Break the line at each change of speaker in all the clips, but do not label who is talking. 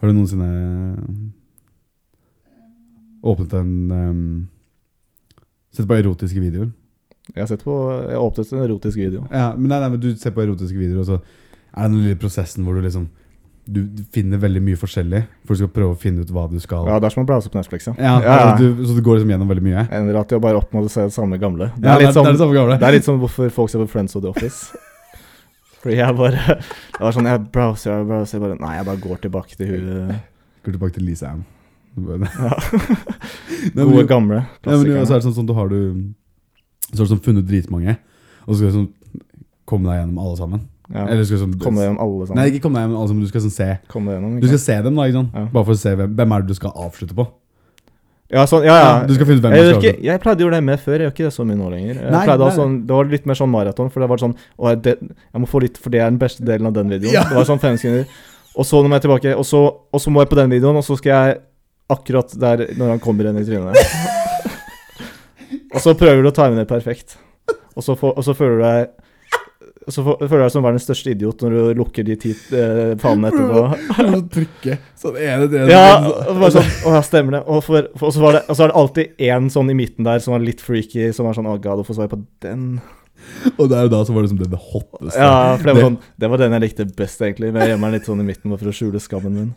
Har du noensinne eh, åpnet en ehm, Sett på erotiske videoer?
Jeg har sett på Jeg har åpnet en erotisk video.
Ja, men nei, nei, men Du ser på erotiske videoer, og så er det den lille prosessen hvor du liksom Du finner veldig mye forskjellig, for du skal prøve å finne ut hva du skal
Ja, Det er som å browse på Netflix, ja.
Ja,
Ja,
altså, du, Så du går liksom gjennom veldig mye?
Jeg Ender at de bare opp med å se det samme gamle. Det
Ja,
er litt
det
som,
er det samme gamle.
det er litt som hvorfor folk ser på Friends og The Office. Fordi jeg bare Det var sånn Jeg browser, jeg browser jeg bare Nei, jeg bare går tilbake til hun
Går tilbake til Lise Ann. Nei, men
gode,
du-
gamle
Ja, men jo, så
klassikeren.
er det sånn, sånn du har du Så har du sånn funnet dritmange, og så skal du sånn komme deg gjennom alle sammen.
Ja,
Eller skal du sånn
Komme gjennom alle sammen.
Nei, ikke komme deg gjennom alle sammen, du skal sånn se.
Komme gjennom,
Du
ikke
skal
sant?
se dem, da, ikke sant?
Ja.
Bare for å se hvem, hvem er det du skal avslutte på.
Ja, sånn, ja, ja.
Du skal finne ut hvem
jeg,
du
gjør
skal
ikke, jeg pleide å gjøre det mer før, jeg gjør ikke det så mye nå lenger. Jeg
Nei,
pleide å ha
nei.
sånn, Det var litt mer sånn maraton, for det var sånn å, jeg, det, jeg må få litt, for det er den beste delen av den videoen.
Ja.
Det var sånn fem sekunder. Og så nå må jeg tilbake, og så, og så må jeg på den videoen, og så skal jeg akkurat der når han kommer inn i trynet. og så prøver du å time det perfekt. Og så, får- og så føler du deg og så får- føler du deg som verdens største idiot når du lukker de ti eh, fanene etterpå.
Så trykke sånn ene til
Ja, og bare sånn, å, ja, stemmer det. Og, for, for, og, så var det og så er det alltid én sånn i midten der som var litt freaky, som var sånn Å, god, hvorfor så jeg på den?
Og der og da så var det som det, det hotteste.
Ja, for det var, sånn, det var den jeg likte best, egentlig. Men jeg gjemmer den litt sånn i midten bare for å skjule skammen min.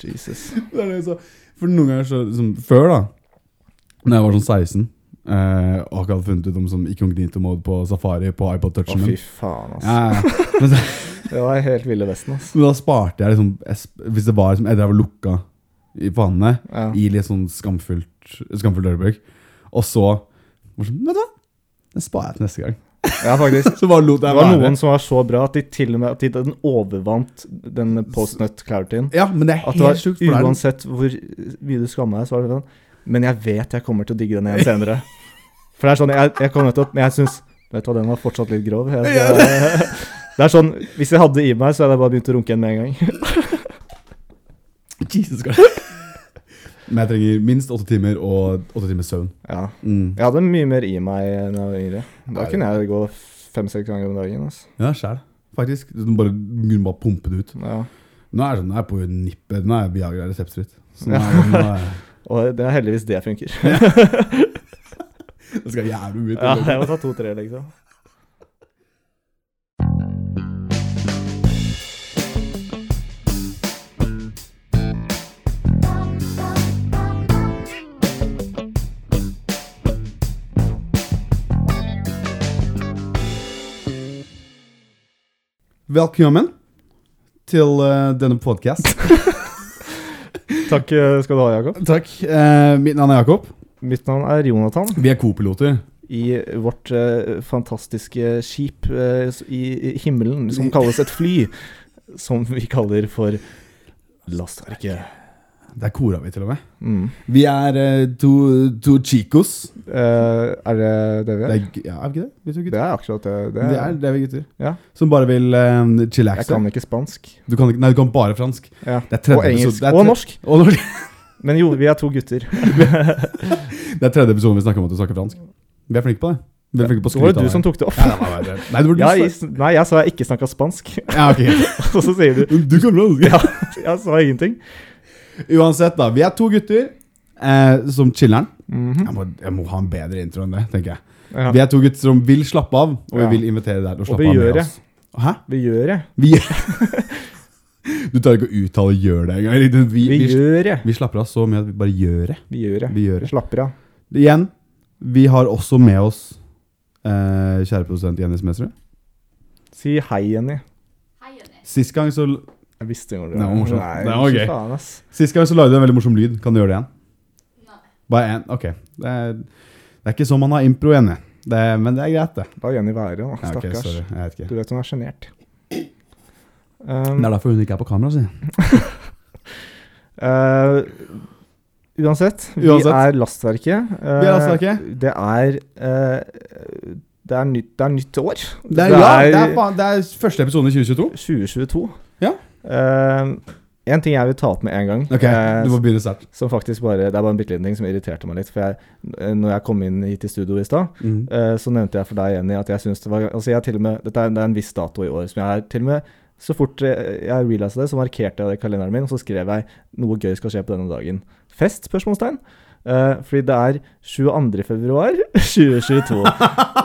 Jesus.
Det er det så- For noen ganger så liksom, Før, da, Når jeg var sånn 16 eh, og ikke hadde funnet ut om sånn Icongnito-mode på safari på iPod
Å,
Touchen min
fy faen, altså.
ja, ja. Men, så,
Det var helt Ville Vesten, altså.
men da sparte jeg liksom jeg, sp- Hvis det var liksom, etter jeg var lukka i fanene,
Ja.
i litt sånn skamfullt, skamfullt øyeblikk, og så var det sånn, Vet du hva, det sparer jeg til neste gang.
ja, faktisk.
Så bare lot
Det
jeg
var
være.
noen som var så bra at de til og med at de, den overvant den postnut clarityen.
Ja, men det er
At
helt
det var
sjukt. for det er-
Uansett hvor mye du skammer deg, så var det sånn Men jeg vet jeg kommer til å digge den igjen senere. For det er sånn Jeg, jeg kom nettopp, men jeg syns Vet du hva, den var fortsatt litt grov. Jeg, det, det er sånn Hvis jeg hadde det i meg, så hadde jeg bare begynt å runke igjen med en gang.
Jesus Christ. Men jeg trenger minst åtte timer og åtte timers søvn.
Ja.
Mm.
Jeg hadde mye mer i meg da jeg var yngre. Da
Nei.
kunne jeg gå fem-seks ganger om dagen. Altså.
Ja, sjæl. Faktisk. Du bare, du bare pumpe det ut.
Ja.
Nå er det sånn, nå er jeg på nippet. Nå er Viagra reseptfritt. Så nå,
Ja.
er det- nå er jeg-
Og det er heldigvis det funker.
det skal jævlig mye
Ja,
til.
jeg må ta to-tre, liksom.
Velkommen til eh, denne podkast.
Takk eh, skal du ha, Jakob.
Takk. Eh, mitt navn er Jakob.
Mitt navn er Jonathan.
Vi er co-piloter.
i vårt eh, fantastiske skip eh, s- i, i himmelen, som kalles et fly. Som vi kaller for lastverket.
Det er kora vi, til og med.
Mm.
Vi er eh, to, to chicos.
Eh, er det det vi
Det
er?
er, g- ja, er vi ikke det? Vi er to
Det
gutter.
er akkurat det.
Det
det,
er,
er,
det er vi gutter.
Ja.
Som bare vil uh,
jeg
chillaxe.
kan ikke spansk.
Du kan ikke Nei, du kan bare fransk.
Ja.
Det er tredje
Og engelsk.
episode- det er
Og
tre-
norsk.
Og norsk.
Men jo, vi er to gutter.
Det er tredje episoden vi snakker om at du snakker fransk. Vi er flinke på det. Vi er flinke på å
Så var
skryte
det du som
av
tok det opp.
Ja, det var meg, det. Nei, det var du
Ja,
som-
jeg, nei, jeg sa jeg ikke snakka spansk.
Ja, ok.
Og så sier du
Du kan fransk.
Ja, jeg sa ingenting.
Uansett, da. Vi er to gutter eh, som chiller'n.
Mhm.
Jeg, må- jeg må ha en bedre intro enn det, tenker jeg.
ja.
Vi er to gutter som vil slappe av, og vi
Ja.
vil invitere deg til å slappe
vi
av
gjør
med
det.
oss. Hæ?
Vi gjør det.
Vi Du tar ikke å uttale 'gjør det' engang. Du, Vi,
Vi
vi, vi,
gjør det.
vi slapper av så mye at vi bare gjør det.
Vi gjør det.
Vi gjør
Vi
det.
slapper av.
Igjen, vi har også med oss eh, kjære produsent Jenny Smesrud.
Si hei, Jenny.
Sist gang så
Jeg visste jo
Det var morsomt.
Nei,
Det var
fy
gøy.
Faen, ass.
Sist gang så lagde du en veldig morsom lyd. Kan du gjøre det igjen? Bare én? Ok. Det er, det er ikke sånn man har impro, Jenny. Det er, men det er greit, det.
La Jenny være, da.
Ja, ok,
Stakkars.
sorry. Jeg vet ikke.
du vet hun er sjenert.
Det
Um,
er derfor hun ikke er på kamera, si.
eh, uansett, vi
Uansett.
er Lastverket. Eh,
Vi er Lastverket.
Det er eh, det er, nytt, det er nytt år.
Det er, ja, det er, faen, det er første episode i 2022.
2022.
Ja.
Eh, en ting jeg vil ta opp med en gang,
Ok,
eh,
Du må begynne sterkt.
som faktisk bare, det er bare en bitte liten ting som irriterte meg litt. For jeg, eh, når jeg kom inn hit i studio i stad,
Mm.
Eh, så nevnte jeg for deg, Jenny, at jeg syns det var Altså, jeg har til og med Dette er, det er en viss dato i år som jeg har til og med Så fort eh, jeg realiza det, så markerte jeg det i kalenderen min, og så skrev jeg 'noe gøy skal skje på denne dagen'. Fest? spørsmålstegn. Eh, fordi det er 22. februar 2022.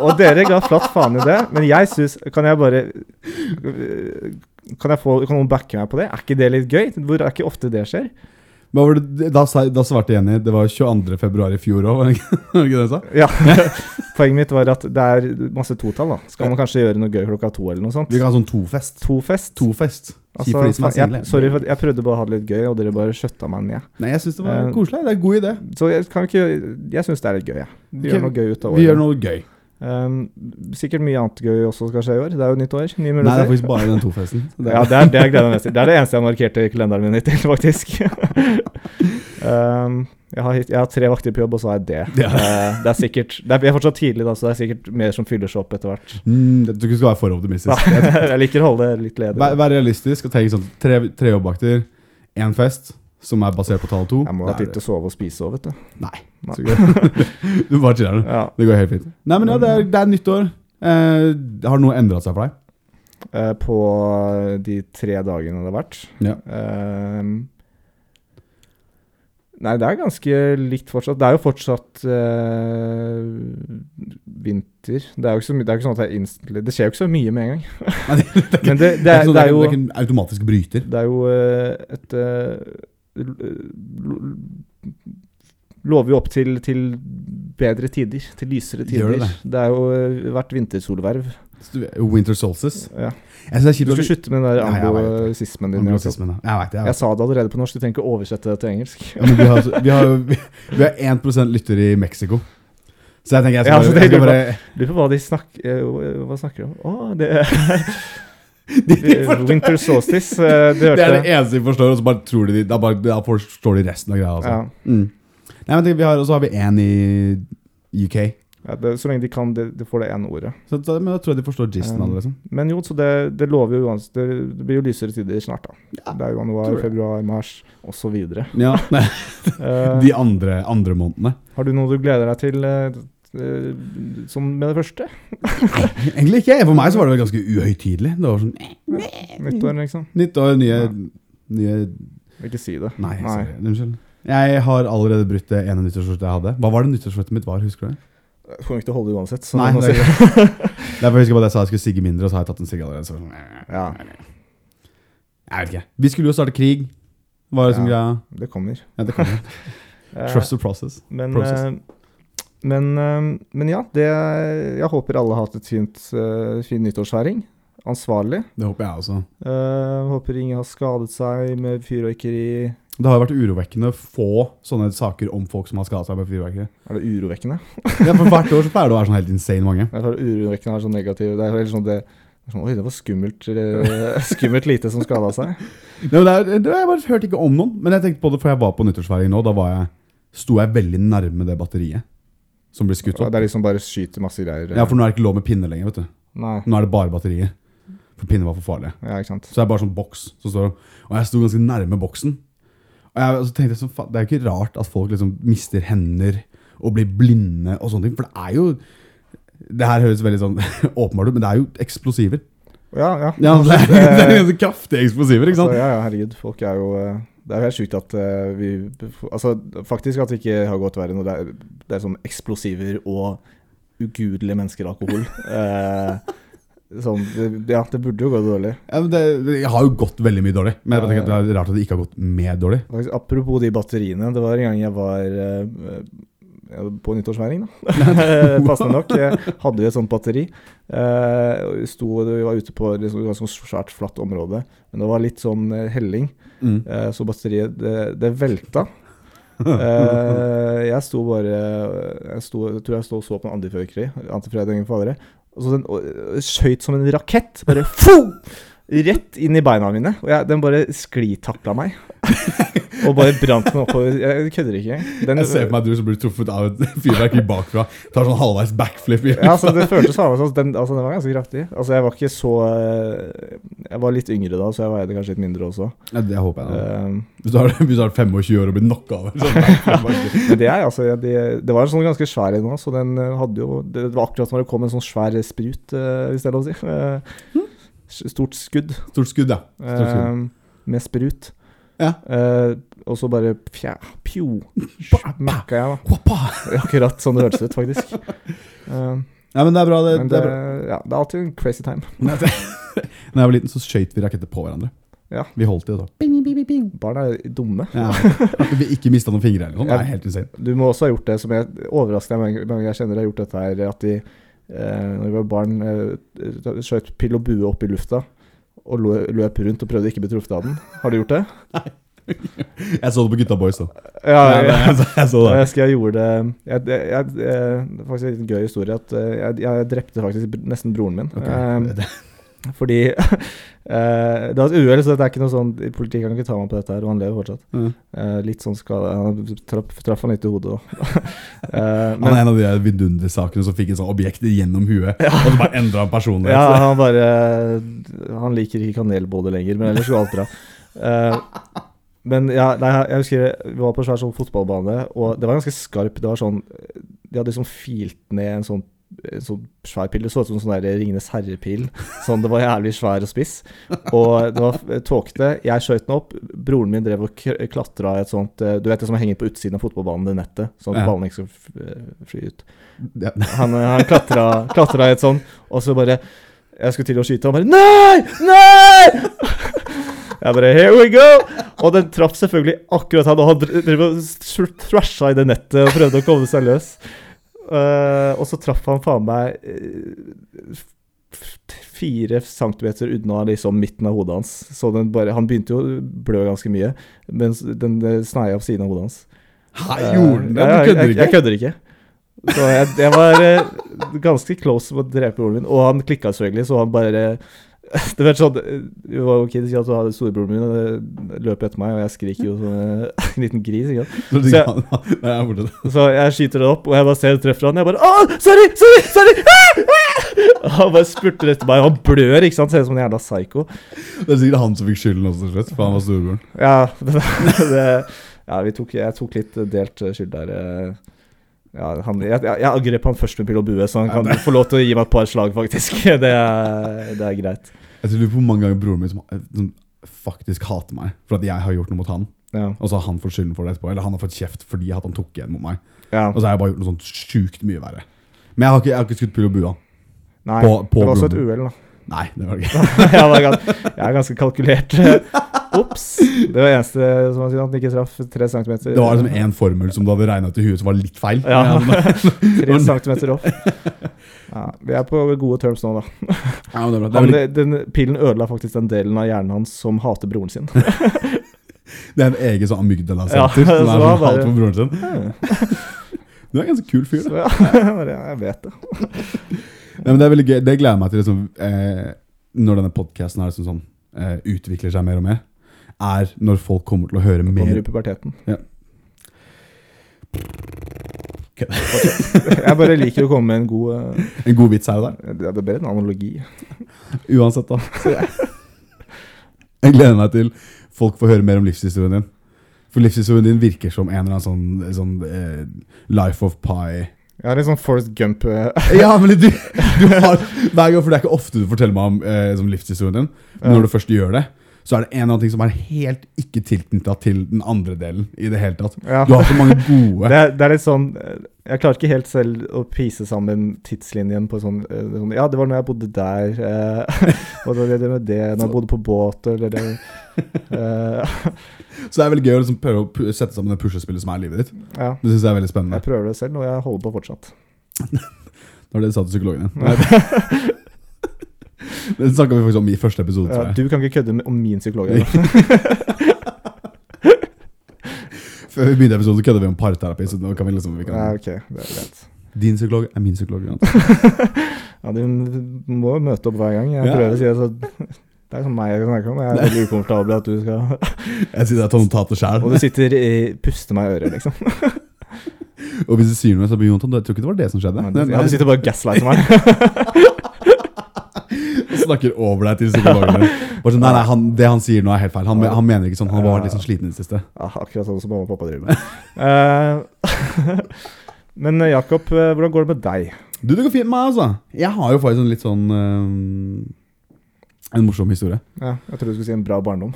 Og dere ga flatt faen i det, men jeg syns Kan jeg bare eh, kan, jeg få, kan noen backe meg på det? Er ikke det litt gøy? Hvor er ikke ofte det skjer?
Hva var det, da, sa- da svarte Jenny det var 22. februar i fjor òg, var det ikke var det ikke det hun sa?
Ja, Poenget mitt var at det er masse totall. da Skal man kanskje gjøre noe gøy klokka to? eller noe sånt
Vi kan ha sånn tofest.
To-fest.
Tofest. Kjipt for de som
Altså,
er single.
jeg, sorry, for at jeg prøvde bare å ha det litt gøy, og dere bare skjøtta meg ned.
Nei, jeg syns det var
Eh,
koselig. Det er en god idé.
Så jeg, kan ikke, jeg syns det er litt gøy. jeg. Vi
Ok,
gjør noe gøy ut av
Vi gjør
året.
noe gøy.
Um, sikkert mye annet gøy også skal skje i år. Det er jo nytt år. Nye
Nei, det er
muligheter.
faktisk bare den tofesten. Det er-
ja, det er det jeg gleder meg mest til. Det er det eneste jeg markerte i kalenderen min hittil, faktisk. um, jeg, har, hit- jeg har tre vakter på jobb, og så har jeg det.
Ja.
Eh, det er sikkert det er, Vi er fortsatt tidlig, da, så det er sikkert mer som fyller seg opp etter hvert.
Mm, det- du skal ikke være for optimistisk.
jeg liker å holde det litt ledig.
Vær, vær realistisk og tenk sånn tre, tre jobbakter, én fest, som er basert på tall to.
Jeg må
Da
ha
er
tid til å sove og spise òg, vet du.
det- så- Du bare chiller'n.
Ja.
Det går helt fint. Nei, men ja, det er, det er nyttår. Eh, har noe endret seg for deg?
Eh, på de tre dagene det har vært.
Ja.
Ehm, nei, det er ganske likt fortsatt. Det er jo fortsatt eh, vinter. Det er jo ikke, så my- det er jo ikke sånn at det er instantly Det skjer jo ikke så mye med en
Nei,
gang.
det, det, er ikke-
Men
det er
det, det, er,
ikke sånn-
det er jo
det er ikke en automatisk bryter.
Det er jo eh, et eh, l- l- Lover jo opp til, til bedre tider. Til lysere
Gjør
tider.
det
Det, er jo eh, vært vintersolverv.
Winter solstice.
Ja.
Jeg synes det er kjipt
Du skal
at
slutte med den der
Nei, jeg vet
anglosismen
vi-
din. Jakob.
Anglosismen, ja. Jeg vet det. Jeg vet.
Jeg sa det allerede på norsk, du trenger ikke oversette det til engelsk.
Ja, men vi har, vi har, vi har 1 lyttere i Mexico. Så jeg tenker jeg
Ja,
skal
så
bare, jeg
det
skal
lurer
bare
Lurer på hva de snakker eh, Hva snakker de om? Å, det er Winter solstice, eh, du
Det
hørte
er det eneste de forstår, og så bare tror de Da, bare, da forstår de resten av greia. Altså.
Ja.
Mm. Nei, men tenk, vi har, Og så har vi én i UK.
Ja, det, så lenge de kan, de, de får det ene ordet.
Så, så, men da tror jeg de forstår gisten av det. liksom
Men jo, så det, det lover jo uansett det, det blir jo lysere tider snart, da.
Ja,
det er jo januar,
tror jeg.
februar, mars osv. Uh,
Ja, nei, De andre, andre månedene.
Eh, har du noe du gleder deg til eh, eh, som med det første?
Egentlig ikke. For meg så var det vel ganske uhøytidelig. Det var sånn eh,
Nyttår, liksom?
Nytt år, nye,
Ja.
nye
Ikke si det.
Nei,
Nei.
sorry. Unnskyld. Jeg har allerede brutt det ene nyttårsskjortet jeg hadde. Hva var det nyttårsskjortet mitt var? Husker du det?
Jeg kommer ikke til å holde det uansett. Så
Nei,
nå
det er
sier-
Derfor husker jeg bare at jeg sa jeg skulle sigge mindre, og så har jeg tatt en sigg allerede. Så.
ja,
Jeg vet ikke. Vi skulle jo starte krig. Hva er det som
Ja.
greia?
det kommer.
Ja, det kommer.
Eh,
Trust the process.
Men,
Process.
eh, men, eh, men ja, det, jeg håper alle har hatt et fint, eh, fin nyttårsfeiring. Ansvarlig.
Det håper jeg også.
Eh, håper ingen har skadet seg med fyrverkeri.
Det har jo vært urovekkende få sånne saker om folk som har skadet seg med fyrverkeri.
Er det urovekkende?
Ja, for hvert år så pleier det å være sånn helt insane mange.
Jeg tar urovekkende er sånn negativ. Det er helt sånn det det er sånn, Oi, det var skummelt, eh, skummelt lite som skada seg.
Nei, men det er, det, jeg bare hørte ikke om noen, men jeg tenkte på det for jeg var på nyttårsfeiring nå. Da var jeg, sto jeg veldig nærme det batteriet som ble skutt
Ja,
opp.
Det er liksom bare skyter masse greier. eh.
Ja, for nå er det ikke lov med pinne lenger, vet du.
Nei,
Nå er det bare batteriet. For pinne var for farlig.
ja, ikke sant.
Så det er bare sånn boks som står om. Og jeg sto ganske nærme boksen. Og jeg, og så tenkte jeg sånn, "Fa- Det er jo ikke rart at folk liksom mister hender og blir blinde og sånne ting. For det er jo Det her høres veldig sånn åpenbart ut, men det er jo eksplosiver.
Ja, ja. Eh,
Ja, det er, det Altså, er ganske kraftige eksplosiver, ikke
Så,
sant?
Altså, ja, ja, herregud. Folk er jo eh, Det er jo helt sjukt at eh, vi Altså, faktisk at det ikke har gått verre når det er, det er sånn eksplosiver og ugudelige mennesker og alkohol. Eh, sånn det- Ja, det burde jo gå dårlig.
Ja, men det, jeg har jo gått veldig mye dårlig, men jeg bare tenker at det er rart at det ikke har gått mer dårlig.
Faktisk, apropos de batteriene. Det var en gang jeg var eh, eh, på nyttårsfeiring, da. Passende nok. Jeg hadde vi et sånt batteri. Eh, og vi sto, vi var ute på et ganske svært, flatt område, men det var litt sånn eh, helling.
Mm.
Eh, Så batteriet, det, det velta. Eh, jeg sto bare Jeg sto, jeg tror jeg sto og så på en antifyrverkeri. Antifredag for alle. Og så den og- skjøt som en rakett. Bare fo! Rett inn i beina mine. Og jeg, den bare sklitakla meg. og bare brant meg oppover. Jeg kødder ikke engang. Den-
Jeg ser for meg at du som blir truffet av et fyrverkeri bakfra, tar sånn halvveis backflip. i-
Ja, altså, det føltes sånn. Altså, den, altså, den var ganske kraftig. Altså, jeg var ikke så eh, Jeg var litt yngre da, så jeg veide kanskje litt mindre også.
Ja, det håper jeg. da.
Eh,
Hvis du har, hvis du har 25 år og blir knocka over sånn backflip,
Men det er altså det, det var en sånn ganske svær en nå, så
Hm?
den eh, hadde jo Det det var akkurat når det kom en sånn svær sprut, eh, hvis det er lov å si. Eh, Stort skudd.
Stort skudd, ja. Stort skudd.
eh, med sprut.
Ja.
Eh, og så bare fja, pjo,
Ba-
smakka jeg, da.
Hoppa!
Akkurat sånn det hørtes ut, faktisk. Eh,
Nei, men det er bra. Det,
men
det
det,
er bra.
ja, det er alltid en crazy time.
Nei, det- Når jeg var liten, så skøyt vi raketter på hverandre.
Ja.
Vi holdt i det. Så. Bing, bing, bing, bing.
Barn er dumme.
Ja. At vi ikke mista noen fingre eller noe sånt. Det er helt insane.
Du må også ha gjort det som jeg overrasker meg mange, mange jeg kjenner har gjort dette her, at de eh, når de var barn, eh, skjøt pil og bue opp i lufta og lo- løp rundt og prøvde ikke å bli truffet av den. Har du gjort det?
Jeg så det på Gutta Boys, da.
Ja,
Nei,
jeg,
men jeg så
jeg
det.
husker jeg gjorde det jeg, jeg, jeg, Det er faktisk en liten gøy historie at eh, jeg, jeg drepte faktisk br- nesten broren min.
Ok.
Eh,
Det-
fordi eh, Det var et uhell, så det er ikke noe sånn Politiet kan ikke ta meg på dette her, og han lever fortsatt.
det-
Eh, litt sånn skade Han traff, traff han litt i hodet Eh, òg.
Han er en av de der vidundersakene som fikk et sånt objekt gjennom huet, og det bare endra personlighet.
Ja, han bare Han liker ikke kanelbåter lenger, men ellers går alt bra. Eh, men ja, nei, jeg husker vi var på en svær sånn fotballbane, og det var ganske skarp. Det var sånn De hadde liksom filt ned en sånn en sånn svær pil. Det så ut som en sånn der Ringenes herre-pil. Sånn, Det var jævlig svær og spiss. Og det var f- tåkete. Jeg skjøt den opp. Broren min drev og k- klatra i et sånt eh, Du vet det som henger på utsiden av fotballbanen, det nettet, sånn at
Ja.
ballen ikke skal f- eh, fly ut.
Ja.
Han, han klatra, klatra i et sånn, og så bare Jeg skulle til å skyte, og han bare Nei! Nei! Jeg bare Here we go! Og den traff selvfølgelig akkurat han, og han dr- drev og s- thrasha i det nettet og prøvde å komme seg løs. Eh, og så traff han faen meg eh, f- f- fire centimeter unna liksom midten av hodet hans. Så den bare, han begynte jo å blø ganske mye, mens den eh, sneia opp siden av hodet hans.
Hæ, gjorde den det? Du
Eh, jeg-
kødder
Jeg, jeg
ikke?
kødder ikke. Så jeg, jeg var eh, ganske close med å drepe broren min, og han klikka selvfølgelig, så han bare Du vet sånn eh, Vi var jo kids, ikke sant, så hadde storebroren min og det løp etter meg, og jeg skriker jo som en liten gris. Ikke sant?
Så du-
Så-
Nei, jeg er borte.
Så jeg skyter det opp, og jeg bare ser det treffer han. Jeg bare Å, sorry, sorry, sorry! Ah! Ah! Han bare spurter etter meg, og han blør, ikke sant. Ser ut som en jævla psyko.
Det er sikkert han som fikk skylden også, til slutt, for han var storebroren.
Ja, det, det, ja vi tok, jeg tok litt delt skyld der. eh. Ja, han, jeg, jeg, jeg angrep han først med pil og bue, så han kan få lov til å gi meg et par slag, faktisk. Det er, det er greit.
Jeg tror på hvor mange ganger broren min som, eh, som faktisk hater meg for at jeg har gjort noe mot han.
Ja.
Og så har han fått skylden for det etterpå. Eller han har fått kjeft fordi at han tok igjen mot meg.
ja.
Og så har jeg bare gjort noe sånt sjukt mye verre. Men jeg har ikke, jeg har ikke skutt pil og bue.
Nei,
på- på
det var også et
broren.
uhell, da.
Nei, det var det ikke.
jeg, var gans, jeg er ganske kalkulert. Ops! Det var eneste som han sier, at han ikke traff tre centimeter.
Det var liksom én formel som du hadde regna ut i huet som var litt feil.
Ja.
Men-
Tre centimeter opp. Ja, vi er på gode terms nå, da.
Ja, men det er bra. Det er,
Han,
vel,
den Pilen ødela faktisk den delen av hjernen hans som hater broren sin.
ikke- det er en egen sånn
Ja,
amygdala-senter.
så
som er
var
sånn
bare-
halvt på broren sin.
Så
Du er en ganske kul fyr. da.
ja, bare, jeg vet det.
Nei, men det er veldig gøy. Det gleder jeg meg til liksom, eh, når denne podkasten liksom sånn, eh, utvikler seg mer og mer. Er når folk kommer til å høre
Kommer
mer
i puberteten.
Ja.
Jeg bare liker å komme med en god eh,
En god vits her og der.
Det er bedre en analogi.
Uansett, da. Så jeg- Jeg gleder meg til folk får høre mer om livshistorien din. For livshistorien din virker som en eller annen sånn, sånn eh, Life of Pie
Jeg har litt sånn Forest Gump eh,
Ja, men du, du har hver gang, For det er ikke ofte du forteller meg om eh, som livshistorien din.
eh,
Men når du først gjør det, så er det en eller annen ting som er helt ikke tilknytta til den andre delen. i det hele tatt.
ja.
Du har så mange
Det
gode
er, det er litt sånn eh, Jeg klarer ikke helt selv å pise sammen tidslinjen på sånn, eh, sånn Ja, det var når jeg bodde der, eh, og det var det med det Når jeg bodde på båt, eller det eh,
Så det er veldig gøy å liksom prøve å pu- sette sammen det puslespillet som er livet ditt.
Ja.
Det synes jeg er veldig spennende.
Jeg prøver det selv, og jeg holder på fortsatt.
Det var det du sa til psykologen din. Det snakka vi faktisk om i første episode,
Ja,
tror jeg.
du kan ikke kødde med om min psykolog. eller?
Før vi begynte episoden, så kødda vi om parterapi. Så nå kan vi liksom vi
Nei,
kan.
ok, det er greit.
Din psykolog er min psykolog. Jan.
Ja, du må jo møte opp hver gang. Jeg
Ja.
prøver å si det, så det er sånn meg jeg kan snakke om. Jeg er veldig ukomfortabel at du skal
Jeg sier det er Tom Tater selv.
Og du sitter i puster meg i øret, liksom.
Og hvis du sier noe, så blir Jonathan Jeg tror ikke det var det som skjedde.
Ja, du sitter bare og gaslighter meg.
Og snakker over deg til psykologen din. Bare sånn, Nei, nei, han, det han sier nå, er helt feil. Han, han mener ikke sånn. Han var litt sånn sliten i det siste.
Ja, akkurat sånn som mamma og pappa driver med. Eh, men eh, Jakob, eh, hvordan går det med deg?
Du, det går fint med meg, altså. Jeg har jo faktisk sånn litt sånn øhm, En morsom historie.
Ja, jeg trodde du skulle si en bra barndom.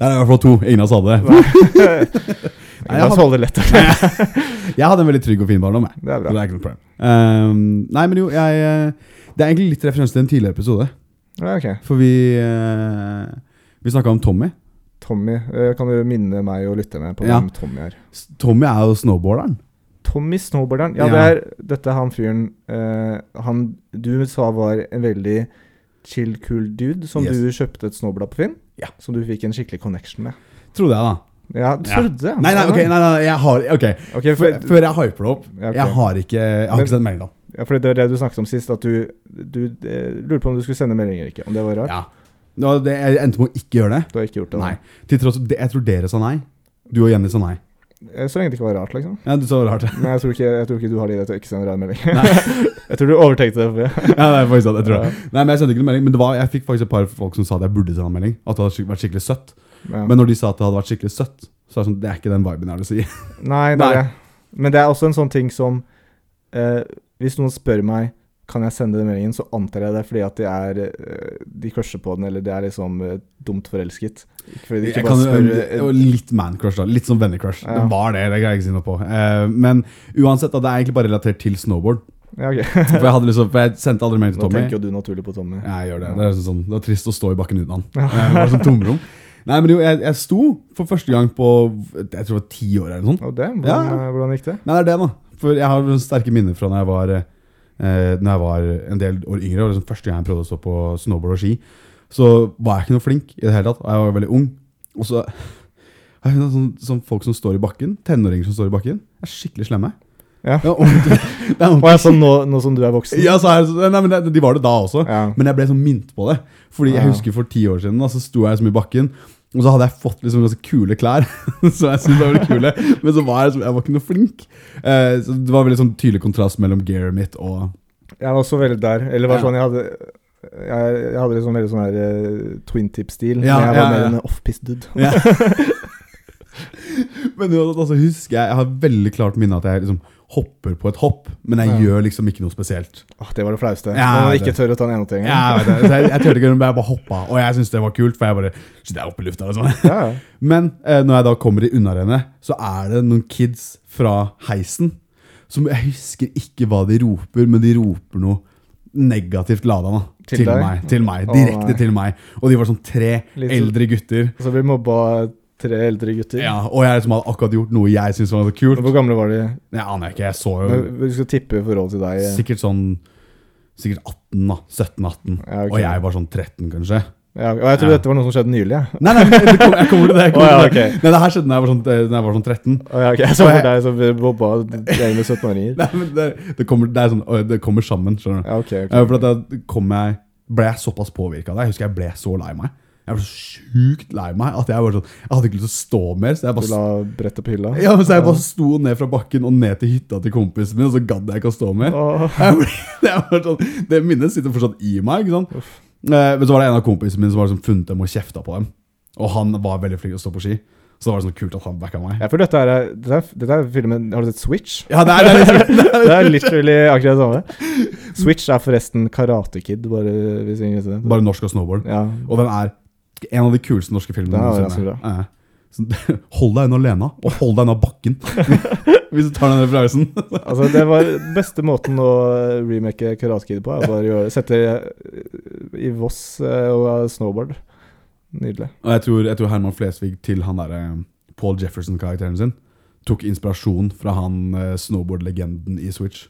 Der er i hvert fall to. Ingen av oss hadde det.
Nei, La oss holde det lett.
Jeg hadde en veldig trygg og fin barndom. Jeg.
Det er
Så det
bra.
er ikke noe problem. Ehm, nei, men jo, jeg eh, Det er egentlig litt referanse til en tidligere episode.
Ja, ok.
For vi eh, Vi snakka om Tommy.
Tommy, eh, kan du minne meg og lytte med på
Ja.
hvem Tommy er?
S- Tommy er jo snowboarderen.
Tommy Snowboarderen. Ja,
Ja.
det er dette er han fyren eh, han du sa var en veldig chill, cool dude som
Yes.
du kjøpte et snowboard på Finn.
Ja.
Som du fikk en skikkelig connection med.
Trodde jeg, da.
Ja, du
Ja.
trodde
Nei, nei, ok, nei, nei, nei jeg har Ok,
Ok,
f-
for,
Før jeg hyper det opp
ja, ok.
Jeg har ikke Jeg har
Men-
ikke sett meldinga.
ja, for det var det du snakket om sist, at du, du eh, lurte på om du skulle sende melding eller ikke. Om det var rart?
Ja. Nå, det, jeg endte med å ikke gjøre det.
Du har ikke gjort det? da.
Nei. Til tross for det- Jeg tror dere sa nei. Du og Jenny sa nei.
Eh, Så lenge det ikke var rart, liksom.
Ja, du sa rart. Ja,
Men jeg tror ikke, jeg tror ikke du har det i deg til å ikke sende rar melding.
Nei.
jeg tror du overtenkte det. for det.
det er faktisk sant, jeg tror det.
Ja.
Nei, men jeg sendte ikke noen melding. Men det var, jeg fikk faktisk et par folk som sa at jeg burde sende en melding. At det hadde skik- vært skikkelig søtt.
Ja.
Men når de sa at det hadde vært skikkelig søtt, så er det sånn Det er ikke den viben jeg har lyst til å gi.
Nei, det
Nei.
er det. Men det er også en sånn ting som eh, Hvis noen spør meg kan jeg sende den meldingen, så antar jeg det er fordi at de er eh, De crusher på den, eller de er liksom eh, dumt forelsket. Ikke Fordi de
Jeg
ikke
kan,
bare spør
det var
eh,
litt man-crush, da. Litt sånn vennecrush.
Ja.
Det var det. det kan jeg ikke si noe på Eh, Men uansett, da, det er egentlig bare relatert til snowboard.
Ja, ok.
For jeg, hadde liksom, for jeg sendte aldri melding til
Nå
Tommy.
tenker jo du naturlig på Tommy.
Ja, Jeg gjør Det det er, sånn, sånn, det er trist å stå i bakken uten han. Eh, Det var sånn tomrom. Nei, men jo, jeg, jeg sto for første gang på jeg tror det var ti år eller noe sånt.
Og det, hvordan,
Ja.
eh, hvordan gikk det?
Nei, det er det, da. For jeg har sterke minner fra når jeg var eh, Når jeg var en del år yngre. Og liksom første gang jeg prøvde å stå på snowboard og ski, så var jeg ikke noe flink i det hele tatt. Og jeg var veldig ung. Og så er det sånn, sånn folk som står i bakken, tenåringer som står i bakken, er skikkelig slemme.
Ja.
Det er ordentlig- det er
Å
ordentlig-
ja, sånn nå, nå som du er voksen?
Ja, så er, det så- nei, men det- de var det da også.
Ja.
Men jeg ble sånn minnet på det. Fordi jeg
Ja.
husker for ti år siden da, så sto jeg liksom i bakken. Og så hadde jeg fått liksom ganske kule klær, så jeg syntes det var litt kule. Men så var jeg, liksom- jeg var ikke noe flink. Eh, så det var veldig sånn tydelig kontrast mellom gearet mitt og
Jeg var også veldig der. Eller var
Ja.
sånn jeg hadde jeg, jeg hadde liksom veldig sånn her eh, twin tip-stil.
Ja,
men
ja,
jeg var
ja.
mer en off-piss dude.
ja. Men uansett, altså, husker jeg Jeg har veldig klart minne at jeg liksom hopper på et hopp, men jeg
Ja.
gjør liksom ikke noe spesielt.
Åh, det var det flauste.
Ja,
Når man
det-
ikke tør å ta den ene tingen.
Jeg, vet det. Så jeg, jeg turte ikke, men jeg bare hoppa, og jeg syntes det var kult, for jeg bare Shit, jeg er oppe i lufta, liksom.
Ja, ja.
Men eh, når jeg da kommer i unnarennet, så er det noen kids fra heisen som jeg husker ikke hva de roper, men de roper noe negativt lada da,
Til
til,
deg?
meg. Til meg
Å,
direkte
nei.
til meg. Og de var sånn tre
Litt sånn-
eldre gutter.
Og så blir mobba av tre eldre gutter.
Ja, og jeg liksom hadde akkurat gjort noe jeg syntes var så kult.
Hvor gamle var de?
Jeg aner ikke, jeg så jo
Men Du skal tippe i forhold til deg. eh.
Øh. sikkert sånn Sikkert 18, da. 17-18.
Ja, ok.
Og jeg var sånn 13, kanskje.
Ja, og jeg tror
Ja.
dette var noe som skjedde nylig. Ja.
Nei, nei, men det kom- jeg kommer til det. Jeg kommer
Å, ja,
til det.
ok.
Nei, det her skjedde da jeg var sånn, da jeg var sånn 13.
Å, ja, ok. Jeg så for deg som mobba gjeng med 17-åringer.
Nei, men det, det, kommer, det, er sånn, «Oi, det kommer sammen, skjønner du.
Ja, ok, ok.
Eh, For at da kom jeg, ble jeg såpass påvirka av det. Jeg husker jeg ble så lei meg. Jeg ble så sjukt lei meg at jeg, bare sånn, jeg hadde ikke lyst til å stå mer. Så jeg
Du la
bare,
brettet på hylla?
ja, men så jeg bare sto ned fra bakken og ned til hytta til kompisen min, og så gadd jeg ikke å stå mer.
Åh.
Jeg ble, det, er bare sånn, det minnet sitter fortsatt i meg. ikke sant? Eh, Men så var det en av kompisene mine som var liksom funnet dem og kjefta på dem. Og han var veldig flink til å stå på ski, så da var det sånn kult at han backa meg.
Jeg føler dette er, dette er, dette er filmen Har du sett Switch?
Ja, det er, det er liksom,
Det er literally akkurat det samme. Switch er forresten Karate Kid, bare hvis ingen visste det.
Bare norsk og snowboard.
Ja.
Og den er en av de kuleste norske filmene.
Den er
noensinne.
ganske
Ja. Så, hold deg unna Lena, og hold deg unna bakken! Hvis du tar den referansen.
Altså, det var beste måten å eh, remake Karate Kid på. Er bare å gjøre, sette i Voss eh, og snowboard. Nydelig.
Og jeg tror, jeg tror Herman Flesvig til han derre Paul Jefferson-karakteren sin tok inspirasjon fra han eh, snowboard-legenden i Switch.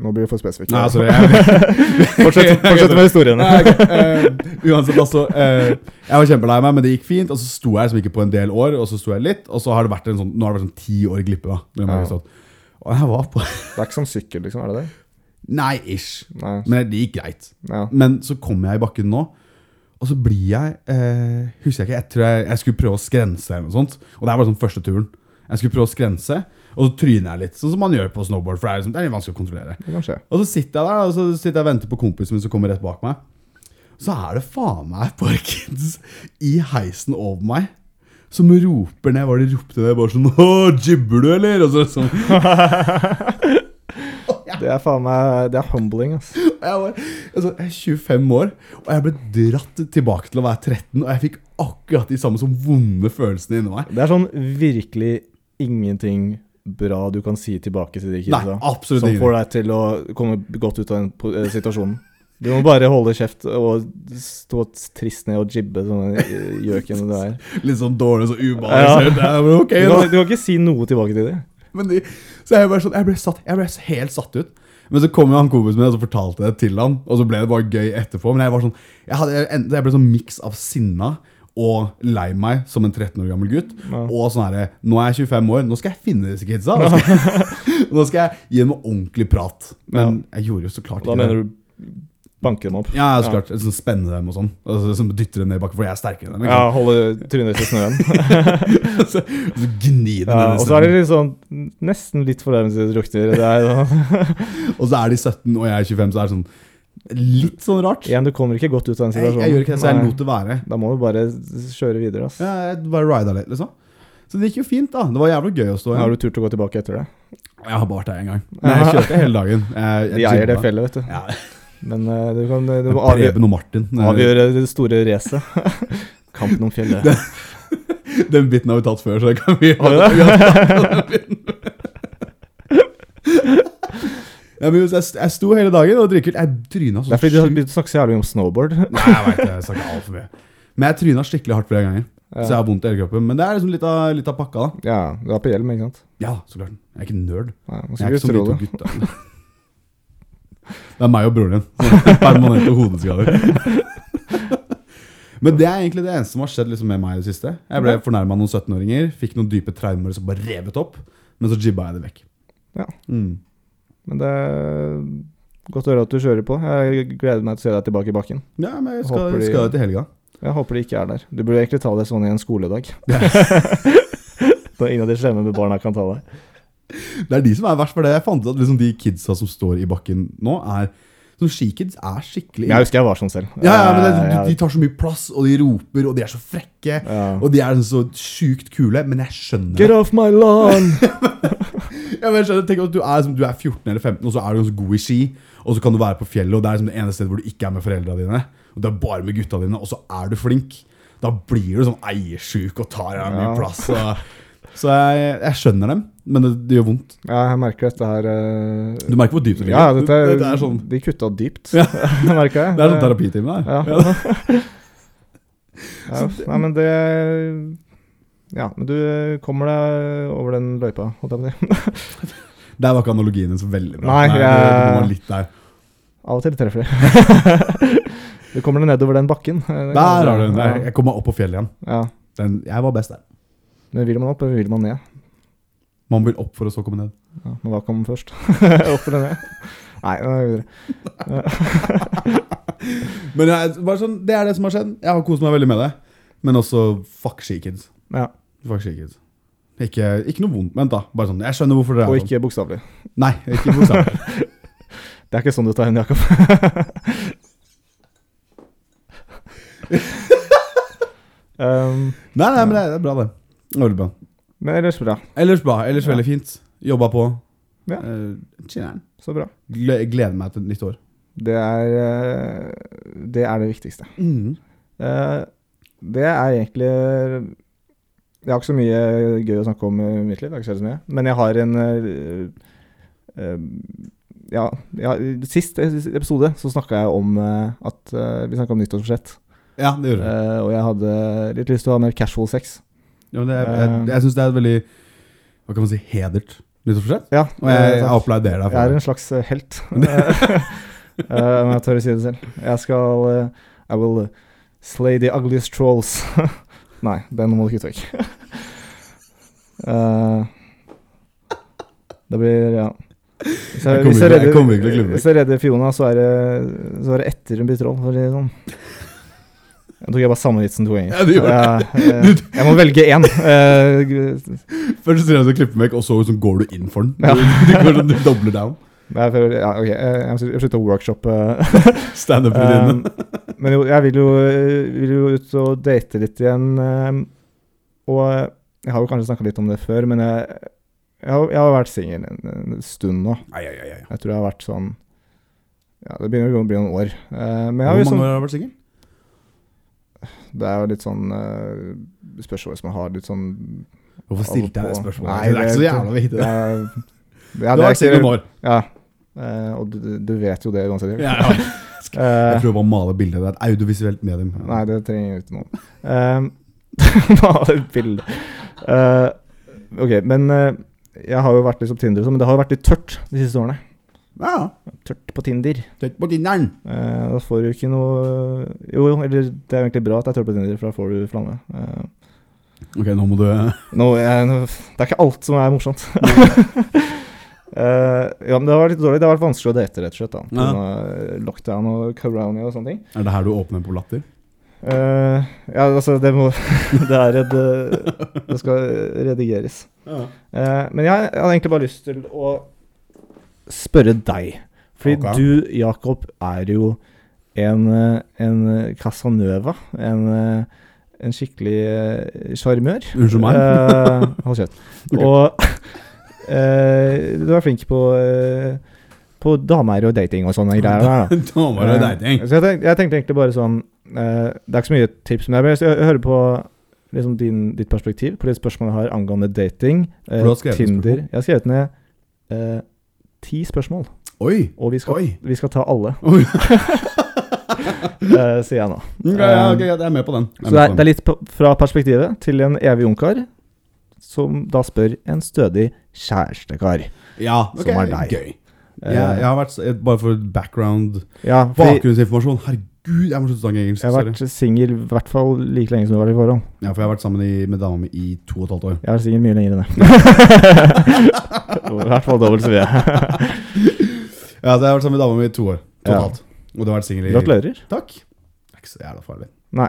Nå blir vi for spesifikke.
Nei, altså, sorry. Jeg,
fortsett, fortsett med historiene.
Nei, ok, eh, uansett, altså. eh, jeg var kjempelei meg, men det gikk fint. Og så sto jeg liksom ikke på en del år, og så sto jeg litt. Og så har det vært en sånn, nå har det vært sånn ti år glippe, da. vil jeg bare
Ja.
si at- Og jeg var på
Det er ikke som sykkel, liksom? Er det det?
Nei, ish.
Nei.
Men det gikk greit.
Ja.
Men så kommer jeg i bakken nå, og så blir jeg eh, Husker jeg ikke, jeg tror jeg, jeg skulle prøve å skrense eller noe sånt. Og det her var sånn første turen. Jeg skulle prøve å skrense, og så tryner jeg litt. Sånn som man gjør på snowboard, for det er, liksom, det er litt vanskelig å kontrollere.
Det kan skje.
Og så sitter jeg der, og så sitter jeg og venter på kompisen min som kommer rett bak meg. Så er det faen meg et par kids i heisen over meg. Som roper ned hva de ropte ned. Bare sånn 'Å, jibber du, eller?' Og så sånn
Det er faen meg Det er humbling, ass.
Og Jeg var altså, jeg er 25 år, og jeg ble dratt tilbake til å være 13. Og jeg fikk akkurat de samme som vonde følelsene inni meg.
Det er sånn virkelig ingenting bra du kan si tilbake til de
Nei,
kidsa.
absolutt
Som
ikke.
får deg til å komme godt ut av den po- eh, situasjonen. Du må bare holde kjeft og stå trist ned og jibbe som den gjøken du er.
Litt sånn dårlig og ubalansert. Ja. Men ok,
Du
da.
kan, du kan ikke si noe tilbake til dem.
Men de, så jeg, bare sånn, jeg, ble satt, jeg ble helt satt ut. Men så kom jo han kompisen min og så fortalte jeg det til han, og så ble det bare gøy etterpå. Men jeg var sånn, jeg, hadde, jeg, endte- jeg ble sånn miks av sinna og lei meg som en 13 år gammel gutt. Og sånn herre Nå er jeg 25 år, nå skal jeg finne disse kidsa. Nå skal, jeg- nå skal jeg gi dem en ordentlig prat. Men jeg gjorde jo så klart
Da
ikke det.
mener du banke dem opp.
Ja, så klart. Sånn spenne dem og sånn. Altså, sånn dytte dem ned i bakken, for jeg er sterkere enn dem. ikke
Ja, holde trynet ditt i snøen.
sant? så, så gni dem
Ja,
ned i
og så er
stedet.
det litt sånn nesten litt fornærmelse det drukner. Det er sånn,
Og så er de 17, og jeg er 25, så er det sånn Litt sånn rart.
igjen, du kommer ikke godt ut av den
Jeg,
situasjonen.
jeg gjør ikke det, så jeg
Nei.
lot det være.
Da må du bare kjøre videre, ass.
Ja, Jeg bare rida litt, liksom. Så det gikk jo fint, da. Det var jævla gøy å stå
Har
igjen.
du turt å gå tilbake etter det?
Jeg har bart her en gang. Men jeg kjørte hele dagen. Jeg, jeg
De eier det
chillet.
fjellet, vet du.
Ja,
Men eh, du kan du må avgjøre,
Preben eh. og Martin.
avgjøre det store racet. Kampen om fjellet.
Den biten har vi tatt før, så det kan vi
Har vi det?
Ja, men jeg, jeg sto hele dagen og drikket. Jeg tryna
Det
sånn
er fordi du har
sjukt-
begynt å snakke så jævlig om snowboard.
Nei, jeg vet det. Jeg snakka altfor mye. Men jeg tryna skikkelig hardt flere ganger. Så jeg
Ja,
har vondt i hele kroppen. Men det er liksom litt av, litt av pakka, da.
ja du har på hjelm, ikke sant?
Ja, så klart. Jeg er ikke nerd.
Ja,
Jeg
nå skal
er
vi
ikke som
tro
de to
det.
gutta. Det er meg og broren din. Sånn Permanente hodeskader. Men det er egentlig det eneste som har skjedd liksom med meg i det siste. Jeg ble fornærma noen 17-åringer, fikk noen dype traumer som bare revet opp. Men så jibba jeg det vekk.
Ja.
Mm.
Men det er godt å høre at du kjører på. Jeg gleder meg til å se deg tilbake i bakken.
ja, men jeg skal,
Håper de-
skal jo til helga.
Jeg håper det ikke er der. Du burde egentlig ta det sånn i en skoledag. Når ingen av de slemme med barna kan ta deg.
Det er de som er verst for det. Jeg fant ut at liksom de kidsa som står i bakken nå, er Sånn skikids er skikkelig
Jeg husker jeg var sånn selv.
ja, ja, men det, de,
Jeg-
de tar så mye plass, og de roper, og de er så frekke.
Ja.
Og de er så sjukt kule, men jeg skjønner
Get off my lawn!
Ja, men jeg skjønner, tenk at du er, som, du er 14 eller 15, og så er du ganske god i ski. Og så kan du være på fjellet, og det er liksom det ene stedet hvor du ikke er med foreldra dine. Og det er bare med gutta dine, og så er du flink. Da blir du sånn eiersjuk og tar deg mye
Ja.
plass. Og, så jeg, jeg skjønner dem, men det, det gjør vondt.
Ja, jeg merker dette her eh,
Du merker hvor dypt det ligger.
Ja, dette er,
er sånn,
De kutta dypt,
Ja.
merker jeg.
det er sånn terapitime der.
Ja. ja. Nei, men det Ja, men du kommer deg over den løypa, holdt jeg på å si.
Der var ikke analogien din så veldig bra.
Nei,
det-
jeg-
det var litt der.
Av og til treffer de. du kommer deg nedover den bakken. Eh,
Der har du den. Jeg- Jeg kom meg opp på fjellet igjen.
Ja.
Den, jeg var best der.
Men vil man opp, eller vil man ned?
Man vil opp for å så komme ned.
Ja, men hva kom først? opp eller ned? Nei, nå er vi videre.
Men jeg, bare sånn, det er det som har skjedd. Jeg har kost meg veldig med det. Men også fuck skikids.
Ja,
Fuck skikids. Ikke, ikke noe vondt ment, da. Bare sånn, Jeg skjønner hvorfor dere
og
er sånn.
ikke bokstavelig.
Nei, ikke bokstavelig.
Det er ikke sånn du tar henne, Jakob. um,
nei, nei, men det er bra, det. Det er Veldig bra.
men ellers bra.
Ellers bra. Ellers
Ja.
veldig fint. Jobba på.
Ja.
Eh, Chiller'n.
Så bra.
Gle gleder meg til nytt år.
Det er eh, det, er det viktigste.
Mm.
Eh, Det er egentlig Jeg har ikke så mye gøy å snakke om i mitt liv, det har ikke skjedd så mye. Men jeg har en eh, eh, ja, ja, sist episode så snakka jeg om eh, at eh, Vi snakka om nyttårsforsett.
Ja, det gjør det.
Eh, og jeg hadde litt lyst til å ha mer casual sex.
Ja, men det er, jeg
eh.
jeg syns det er et veldig Hva kan man si hedert nyttårsforsett.
Ja,
Og jeg, jeg
eh,
applauderer deg
Jeg er
for det.
en slags eh, helt. Eh, Om jeg tør å si det selv. Jeg skal eh, I will eh, slay the ugliest trolls. Nei, den må du kutte vekk. Eh, det blir Ja. Hvis
Jeg kommer
hvis
ikke- jeg
redder-
kommer ikke til å klippe
Hvis jeg redder Fiona, så er det, så er det etter hun blir troll, for å si det sånn. Jeg tok jeg bare samme vitsen to ganger.
Ja, du gjorde
Eh, eh, jeg må velge én. Eh,
Først så sier jeg at du klipper meg, og så så går du inn for den.
Ja.
Du, du, går sånn- du dobler down.
Nei, for, ja, ok, eh, jeg må slutte- jeg må slutte å eh, workshoppe
Standup-rutinene.
Eh, men jo, jeg vil jo, eh, vil jo ut og ehm, date litt igjen. eh, og jeg har jo kanskje snakka litt om det før, men jeg, Jeg har, jeg har vært singel en, en stund nå.
Ai, ai, ai, ai.
Jeg tror jeg har vært sånn Ja, det begynner å gå- bli noen år. Eh, men jeg har
Hvor
jo
mange
sånn,
år har du vært singel?
det er jo litt sånn eh, spørsmål som jeg har litt sånn
Hvorfor stilte jeg det
på-
spørsmålet?
Nei,
det er ikke så jævla viktig.
det
Det.
er, ja,
Du
det
har
er
vært singel
ikke
noen år.
Ja. Eh, og du, du- du vet jo det uansett.
Ja, ja.
Eh,
Jeg prøver å male bildet. Det er et audiovisuelt medium.
Nei, det trenger jeg ikke nå. Eh, Nå har jeg et bilde. Eh, ok, men eh, jeg har jo vært liksom Tinder, og sånn, men det har jo vært litt tørt de siste årene.
Ja,
Tørt på Tinder.
Tett på tinderen.
Eh, da får du ikke noe Jo, jo, eller det er jo egentlig bra at det er tørt på Tinder, for da får du flamme. Eh,
Ok, nå må du
nå, jeg, nå, det er ikke alt som er morsomt. Eh, ja, men det har vært litt dårlig. Det har vært vanskelig å date, rett og slett. da på
Ja.
grunn av Lockdown og corona og sånne ting.
Er det her du åpner på latter?
Eh, ja, altså, det må Det er et eh, Det skal redigeres.
Ja.
Eh, men jeg, jeg hadde egentlig bare lyst til å spørre deg. Fordi
Ok.
du, Jakob, er jo en, eh, en eh, Casanova. En, eh, en skikkelig eh, sjarmør.
Unnskyld meg?
Eh, hold kjeft.
Ok.
Og eh, du er flink på, eh, på damer og dating og sånne greier. Der, da.
Da var det
Eh,
deg, ting.
Så jeg, tenk, jeg tenkte egentlig bare sånn eh, Det er ikke så mye tips, men jeg, vil- jeg hører på liksom din, ditt perspektiv på de spørsmålene jeg har angående dating, eh,
For du har skrevet
Tinder
spørsmål?
Jeg har skrevet ned eh, ti spørsmål,
Oi!
og vi skal,
Oi!
vi skal ta alle,
Oi.
eh, sier jeg nå.
Ja, ja, ok, jeg er med på den. Jeg
eh, Så det
med på
er, det
den.
er litt på, fra perspektivet til en evig ungkar, som da spør en stødig kjærestekar.
ja, ok,
som er deg.
Gøy. Jeg, jeg har vært, s- bare for background
Ja, fordi
Bakgrunnsinformasjon. Herregud, jeg må slutte å snakke engelsk.
jeg har
Sorry.
vært singel i hvert fall like lenge som du har vært i forhold.
Ja, for jeg har vært sammen i, med dama mi i to og et halvt år.
Jeg er sikkert mye lenger enn det. I hvert fall dobbelt så mye.
Ja, så jeg har vært sammen med dama mi i to år. To og
Ja.
et halvt. Og du har vært singel i
Gratulerer.
Takk. Det er ikke så jævla farlig.
Nei.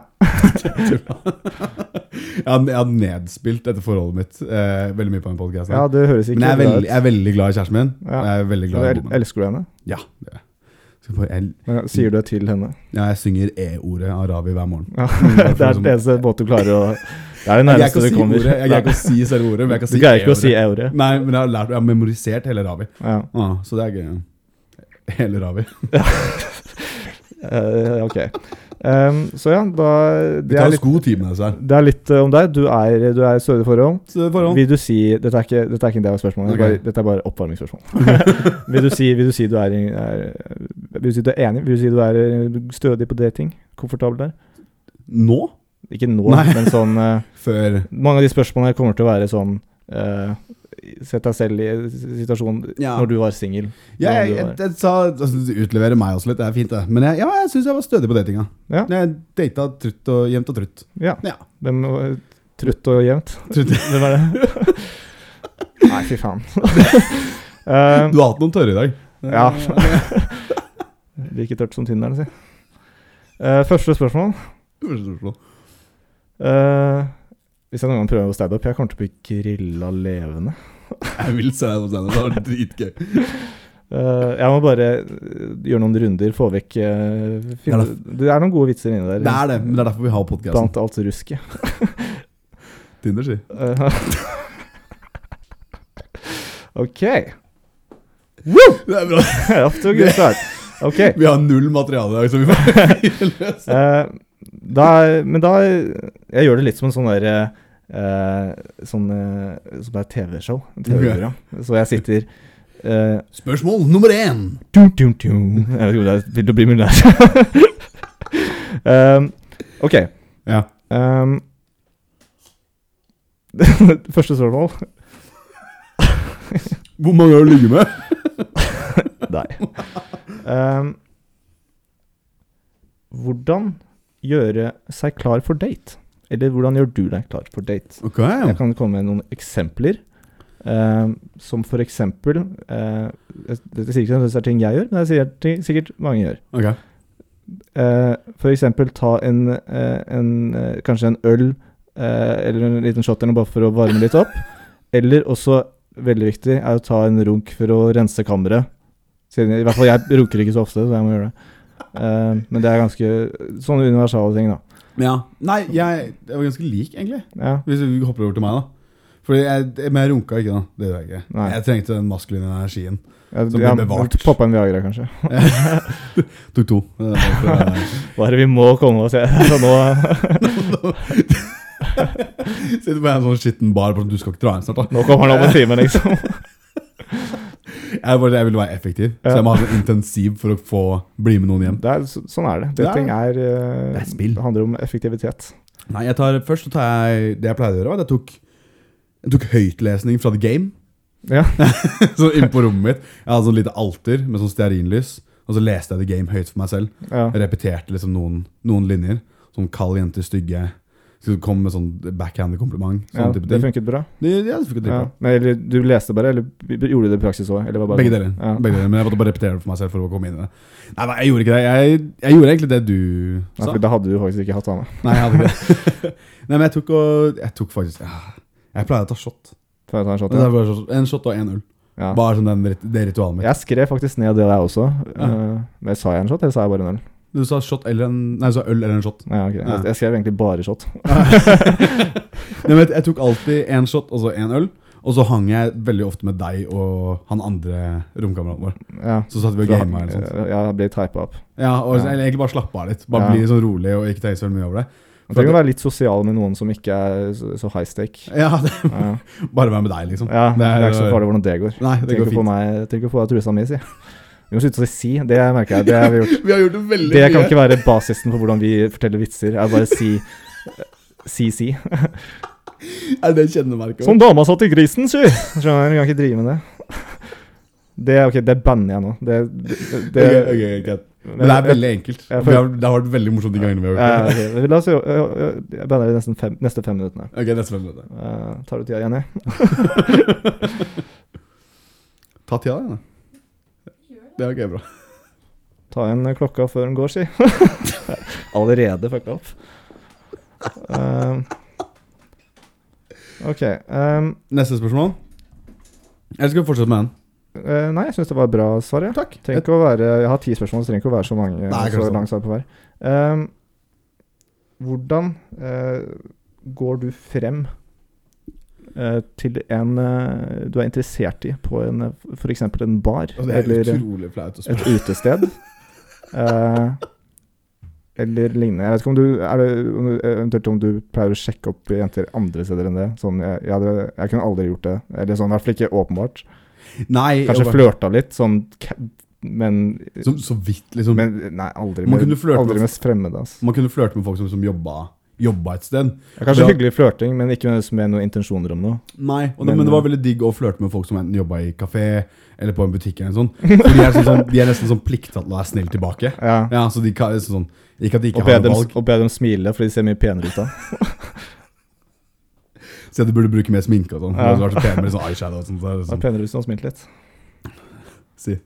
jeg har jeg har nedspilt dette forholdet mitt eh, veldig mye på en podkast.
Ja, det høres ikke
Men jeg er,
bra
veldig, jeg er veldig glad i kjæresten min.
Ja.
Og jeg er veldig
ut.
glad i
El
bommen.
elsker du henne?
Ja, det gjør jeg. Skal bare- jeg.
Men sier du det til henne?
Ja, jeg synger E-ordet av Ravi hver morgen.
Ja.
bare
Det
for
er
liksom-
den eneste måten du klarer å Det
Jeg greier
er det
ikke
nærmeste
å
du
si
kommer.
ordet, jeg greier ikke å si selve ordet, men jeg kan si
Du greier ikke å si
E-ordet.
eure.
Nei, men jeg har, lært, jeg har memorisert hele Ravi.
Ja.
Ah, så det er gøy. Hele Ravi.
Eh, ok. Em, så ja, da
Vi
Det
tar
er
oss
litt,
god tid med disse her.
det er litt eh, om deg. Du er, du er i stødig forhold.
Så forhold.
Vil du si Dette er ikke, dette er ikke en del av spørsmålet, det er
Ok.
bare, dette er bare oppvarmingsspørsmål. vil, du si, vil du si du er, i- er Vil du si du er enig? Vil du si du er eh, stødig på dating? Komfortabel der?
Nå?
Ikke nå,
Nei.
men sånn eh,
Før
Mange av de spørsmålene her kommer til å være sånn eh, Sett deg selv i situasjonen
Ja.
når du var singel.
Ja,
Hvordan
jeg,
du
jeg,
var.
jeg, sa altså, det Utleverer meg også litt, det er fint, det. Men jeg, ja, jeg syns jeg var stødig på datinga.
Ja.
Jeg data trutt og jevnt og trutt.
Ja.
Ja.
Hvem var trutt og jevnt?
Trutt.
Hvem er det? Nei, fy faen. Eh,
Du har hatt noen tørre i dag.
Ja. like tørt som Tinderen, si. Eh, første spørsmål. Eh, hvis jeg noen gang prøver å standup Jeg kommer til å bli grilla levende.
Jeg vil se deg på scenen. Det var dritgøy.
Eh, jeg må bare eh, gjøre noen runder, få vekk eh, finne,
Det
Det er noen gode vitser inni der.
Det altså. er det, men det er derfor vi har podkasten.
Blant alt rusket.
Tinder, si.
Eh, ok.
Det er bra.
Off to a good start. Ok.
Vi har null materiale i dag, så vi får fyre løs.
Eh, da, men da Jeg gjør det litt som en sånn der eh, Sånn eh, som er TV-show. TV-program. Så jeg sitter eh,
Spørsmål nummer én.
dum, dum, dum. Jeg vet ikke om det er- Vil du bli millionær? um, ok.
Ja.
Um, første spørsmål.
Hvor mange har du ligget med?
Nei. Ehm, hvordan gjøre seg klar for date? Eller hvordan gjør du deg klar for date?
Ok.
Jeg kan komme med noen eksempler. Ehm, som for eksempel eh, jeg- Dette sier ikke at det er ting jeg gjør, men det sier ting sikkert mange gjør.
Ok.
Eh, for eksempel ta en, eh, en eh, kanskje en øl eh, eller en liten shot eller noe bare for å varme litt opp. Eller også, veldig viktig, er å ta en runk for å rense kammeret. Siden, I hvert fall jeg runker ikke så ofte, så jeg må gjøre det. Eh, men det er ganske sånne universale ting, da.
Ja. Nei, jeg, jeg var ganske lik, egentlig.
Ja.
Hvis vi hopper over til meg, da. Fordi jeg, men jeg runka ikke, da. Det gjorde jeg ikke.
Nei.
Jeg trengte den maskuline energien.
Jeg,
Som blir bevart.
Pappa en Viagra, kanskje.
Tok to. Det var for, eh,
Hva er det vi må komme oss til? Så nå
Sitter på en sånn skitten bar bare sånn, Du skal ikke dra hjem snart, da.
Nå kommer han om en time, liksom.
Jeg, bare, jeg ville være effektiv, så
Ja.
jeg må ha sånn intensiv for å få bli med noen hjem.
Det er, så, sånn er det.
Det er-
Dating er, eh,
det er spill.
Det handler om effektivitet.
Nei, jeg tar, Først så tar jeg det jeg pleide å gjøre. var at Jeg tok, jeg tok høytlesning fra The Game.
Ja.
så inn på rommet mitt. Jeg hadde sånn lite alter med sånn stearinlys. Og så leste jeg The Game høyt for meg selv.
Ja.
Jeg repeterte liksom noen, noen linjer. Sånn kald jente, stygge. Så kom med sånn backhanded kompliment. Sånn
Ja,
type
det
ting.
funket bra.
Det, ja, det funket
Ja.
dritbra.
Men, eller, du leste bare, eller b- b- gjorde du det sånn? i praksis òg?
Begge deler.
Ja.
Begge deler. Men jeg måtte bare repetere det for meg selv for å komme inn i det. Nei, nei, jeg gjorde ikke det. Jeg, jeg gjorde egentlig det du
Nei,
sa.
for da hadde du faktisk ikke hatt hane.
Nei, jeg hadde ikke det. Nei, men jeg tok, og, jeg tok faktisk ja, Jeg pleier å ta shot.
Får jeg ta en shot?
Men det
Ja.
er bare sånn- En shot og en øl.
Ja.
Bare sånn den, rit- det ritualet mitt.
Jeg skrev faktisk ned det der også. eh, Men sa jeg en shot, eller sa jeg bare en øl?
Du sa shot eller en Nei, du sa øl eller en shot.
Nei, ok.
Ja.
Jeg, jeg skrev egentlig bare shot.
Nei, men jeg tok alltid en shot og så en øl. Og så hang jeg veldig ofte med deg og han andre romkameraten vår.
Ja.
Så satt vi og gama eller noe sånt.
Ja, jeg ble typa opp.
Ja, og
Ja.
eller egentlig bare slappe av litt. Bare
Ja.
bli sånn rolig og ikke tenke så veldig mye over det.
Man trenger å være litt sosial med noen som ikke er så så high stake.
Ja, det,
Ja,
Bare være med deg, liksom.
ja
Det
Det
er-
er ikke så farlig hvordan det går.
Nei, det
Tenk
går
å få
fint.
meg Tenk å få av trusa mi, si. Vi må slutte å si 'si'. Det merker jeg. Det har vi gjort.
Vi har gjort det veldig
Det kan ikke være basisen for hvordan vi forteller vitser. Er bare si Si, si.
Er det kjennemerket
Som dama satt i grisen, si! Skjønner, du kan ikke drive med det. Det, er- ok, det banner jeg nå. Det, det, det,
Det, Men det er veldig enkelt.
Ja, for-
Vi har, det har vært veldig morsomt de gangene vi har
Ja,
gjort det.
ok. La oss jo ø- ø- Jeg banner de nesten fem, neste fem minuttene.
Ok, neste spørsmål.
Eh, tar du tida, Jenny?
Ta tida, da. Det er ok, bra.
Ta igjen klokka før den går, si. Allerede fucka opp. Ehm, ok. ehm,
Neste spørsmål. Jeg skal fortsette med den.
eh, nei, jeg syns det var et bra svar, ja.
Takk.
Trenger ikke å være, jeg har ti spørsmål, så trenger ikke å være så mange. eh,
Nei,
så
kanskje
langt svar på hver. Ehm, hvordan eh, går du frem eh, til en eh, du er interessert i, på en, eh, for eksempel en bar?
Og Altså, det er
eller
utrolig flaut å spørre.
et utested? eh, eller lignende. Jeg vet ikke om du, er det, om du Eventuelt om du pleier å sjekke opp jenter andre steder enn det. Sånn, jeg, jeg, hadde, jeg kunne aldri gjort det. Eller sånn, i hvert fall ikke åpenbart.
Nei,
Kanskje
jeg var-
flørta litt, sånn ka- Men
som, så vidt, liksom.
men nei, aldri
Man
med,
kunne flørte
aldri
med-
med fremmede. Altså.
Man kunne flørte med folk som, som jobba, jobba et sted.
Det er kanskje
Ja.
hyggelig flørting, men ikke nødvendigvis med noen intensjoner om noe.
Nei, og det,
Men,
men, det
eh,
var veldig digg å flørte med folk som enten jobba i kafé eller på en butikk. eller noe sånt. For de er, sånn, sånn, de er nesten sånn plikta til å være snill tilbake.
Ja.
Ja, så de kan, sånn, Ikke at de ikke
Og, be
har noe
dem,
valg.
og be dem smile, for de ser mye penere ut da.
Så de burde bruke mer sminke og sånn. Det
Ja.
hadde vært så pen med litt sånn eyeshadow og sånt, så er det
Det er
sånn.
penere hvis de har smilt litt.
Si.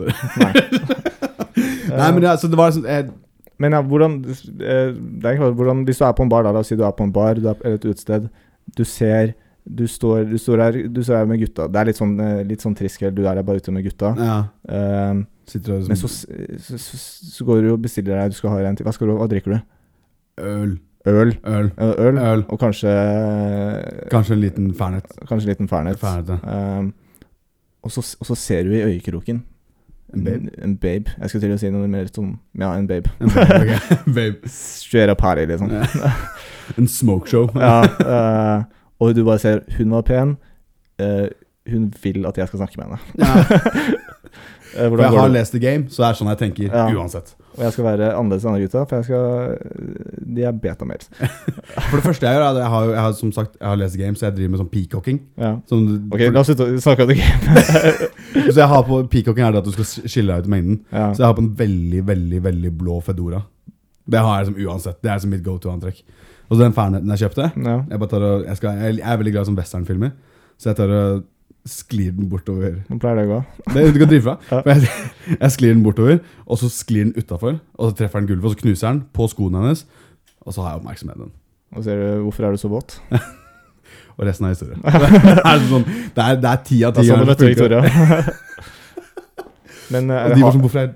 Nei.
Nei, men det, så det var sånn jeg,
Men ja, hvordan, eh, det er ikke bare hvordan Hvis du er på en bar, da, la oss si du er på en bar du er, eller et utested, du ser du står, du, står her, du står her med gutta. Det er litt sånn, eh, litt sånn trist kveld, du er der bare ute med gutta.
ja,
Eh,
Sitter og sånn,
men så, så, så, så går du og bestiller deg Du skal ha deg en til. Hva, skal du, hva drikker du?
Øl,
Øl.
øl,
Eh, Øl.
øl.
Og kanskje
Kanskje en liten fernet.
Kanskje en liten fernet.
Fernet, ja.
Ehm, og, så, og så ser du i øyekroken
En babe.
En babe. Jeg skulle til å si noe mer om Ja, en babe.
En babe, ok. babe.
Straight up herlig, liksom.
Ja. En smokeshow.
Ja, eh, og du bare ser Hun var pen. eh, hun vil at jeg skal snakke med henne.
Ja.
Eh,
For
hvordan
jeg
går
har
det?
lest The Game, så det er sånn jeg tenker
Ja.
uansett.
Og jeg skal være annerledes enn andre gutta, for jeg skal De er beta-mails.
For det første jeg gjør, er at jeg har, jeg har som sagt Jeg har lest The Game, så jeg driver med sånn peacocking.
Ja.
Sånn,
Ok, la oss slutte å snakke om det.
Så jeg har på Peacocking er det at du skal skille deg ut i mengden.
Ja.
Så jeg har på en veldig, veldig veldig blå fedora. Det har jeg som uansett. Det er som mitt go to-antrekk. Og så den fernheten jeg kjøpte
Ja.
Jeg, bare tar og, jeg, skal, jeg er veldig glad i sånn westernfilmer, så jeg tar og sklir den bortover.
Nå pleier det å gå.
Det er du kan drive fra.
Ja.
For jeg, jeg sklir den bortover, og så sklir den utafor. Og så treffer den gulvet, og så knuser den på skoene hennes. Og så har jeg oppmerksomheten.
Og ser du Hvorfor er du så våt?
Og resten er historie. Det er sånn, det er- det er ti av
Det
ti
er sånn du
ganger
møtte
som funker.
Victoria. Men
Og de
eh,
var
har-
sånn, hvorfor er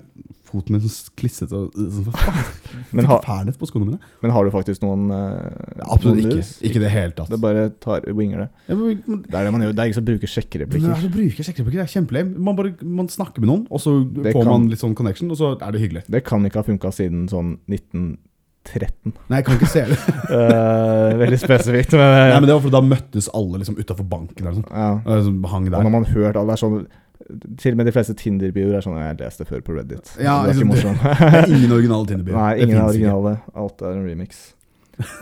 foten min sånn klissete og sånn, for faen,
Men,
Fikk
ha,
fernet på skoene mine.
men har du faktisk noen eh,
Absolutt
noen
ikke.
lus?
Ikke i det hele tatt.
Det bare tar winger det.
Ja, men- men-
Det er det man gjør. Det er ingen som bruker
Men
sjekkereplikker.
altså, bruker sjekkereplikker er kjempelame. Man, bare- man snakker med noen, og så
Det
får
kan-
man litt sånn connection, og så er det hyggelig.
Det kan ikke ha funka siden sånn 1913.
Nei, jeg kan ikke se det.
Eh, veldig spesifikt, men, eh,
Nei, men det var fordi da møttes alle liksom utafor banken. Eller sånn.
ja.
Og liksom hang
Og
der.
når man har hørt alle det er sånn Til og med de fleste Tinder-bioer er sånn Jeg leste det før på Reddit.
Ja,
det er ikke
liksom,
morsomt.
Det er ingen originale Tinder-byer.
Nei,
Det
ingen er
finnes ikke.
originale. Alt er en remix.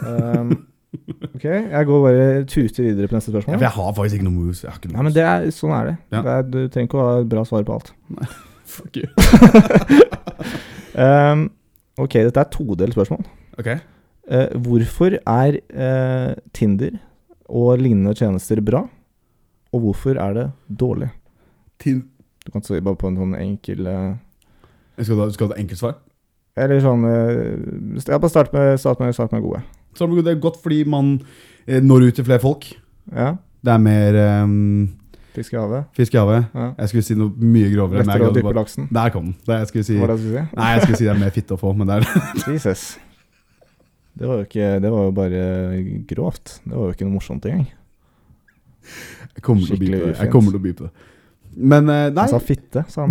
Ehm, ok, jeg går bare tuter videre på neste
Ja,
spørsmål.
for jeg har faktisk ikke noen moves. Jeg har ikke noen
Nei, men det er, sånn er det.
Ja.
det er, du trenger ikke å ha et bra svar på alt.
moves. Fuck you.
Ehm, ok, dette er todelt spørsmål.
Ok.
Eh, hvorfor er eh, Tinder og lignende tjenester bra, og hvorfor er det dårlig?
Tin-
Du kan si bare på en sånn enkel eh,
Skal du ha- skal du ha et enkelt svar?
Eller sånn eh, st- Ja, bare start med, start med, start med gode.
Så det er godt fordi man eh, når ut til flere folk.
Ja,
Det er mer ehm,
Fisk i havet.
fisk i havet.
Ja.
Jeg skulle si noe mye grovere. men jeg
Lettere å
glemte
dyppe
bare-
laksen.
Der kom den. Det jeg skulle si.
Hva var det jeg skulle si?
Nei, jeg skulle si det er mer fitte å få, men det er
Jesus. Det var jo ikke Det var jo bare grovt. Det var jo ikke noe morsomt engang.
Jeg kommer til å by
Skikkelig
på det.
ufint. Altså-
Jeg kommer til å by på det. Men eh, nei,
Han sa fitte, sa han.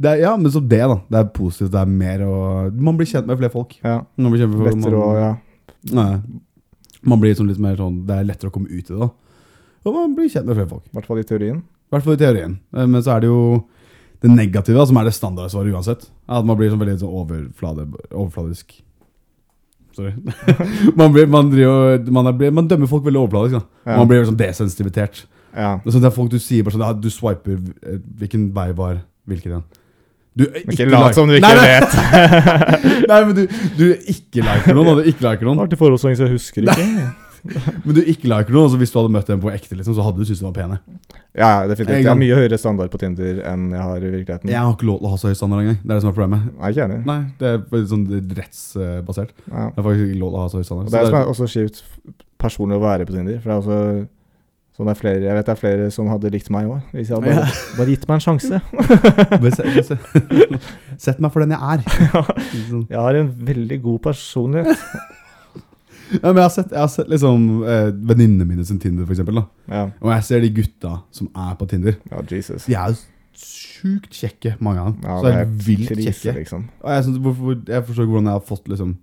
det er, ja, men så det, da. Det er positivt. Det er mer å Man blir kjent med flere folk.
Ja.
Man blir kjent med
Lettere å
man,
ja.
nei, man blir sånn litt mer sånn Det er lettere å komme ut i det, da. Og man blir kjent med flere folk.
I hvert fall i teorien.
I hvert fall i teorien. Eh, Men så er det jo det negative, da, som er det standardsvaret uansett. At man blir sånn veldig sånn overflade, overfladisk. Sorry. man, blir, man, driver, og- man, er, blir- man dømmer folk veldig overfladisk. da.
Ja.
Man blir sånn desensitivitert.
Ja.
Det er, sånn, det er folk du sier bare sånn ja, Du swiper eh, Hvilken vei var hvilken igjen? Du, eh,
Ikke lat
like-
som du ikke
nei, nei,
vet.
Nei, men du, du ikke liker noen, og du ikke liker noen.
Artig forholdsvogn, så jeg husker ikke.
Men du ikke liker noen, så hvis du hadde møtt dem på ekte, liksom, så hadde du syntes de var pene.
Ja, ja, definitivt.
En
Jeg har
gang.
mye høyere standard på Tinder enn jeg har i virkeligheten.
Jeg har ikke lov til å ha så høy standard engang. Det er det som er problemet.
Nei, ikke enig.
Nei, det er faktisk sånn rettsbasert.
Ja.
Det er faktisk ikke lov til å ha så høy standard.
Og det er
Så
det som er også kjipt f- personlig å være på Tinder. For det er også sånn det er flere, Jeg vet det er flere som hadde likt meg òg, hvis jeg hadde bare, bare gitt meg en sjanse.
Bare se- bare se- Sett meg for den jeg er. Sånn.
Jeg har en veldig god personlighet.
Ja, men jeg har sett, jeg har sett liksom, eh, venninnene mine sin Tinder, for eksempel. Da.
Ja,
Og jeg ser de gutta som er på Tinder.
ja Jesus.
De er jo sjukt kjekke, mange av dem.
Ja,
så det
det
er vilt
Krise,
kjekke.
liksom.
Og jeg, synes, hvorfor, jeg forstår ikke hvordan jeg har fått liksom,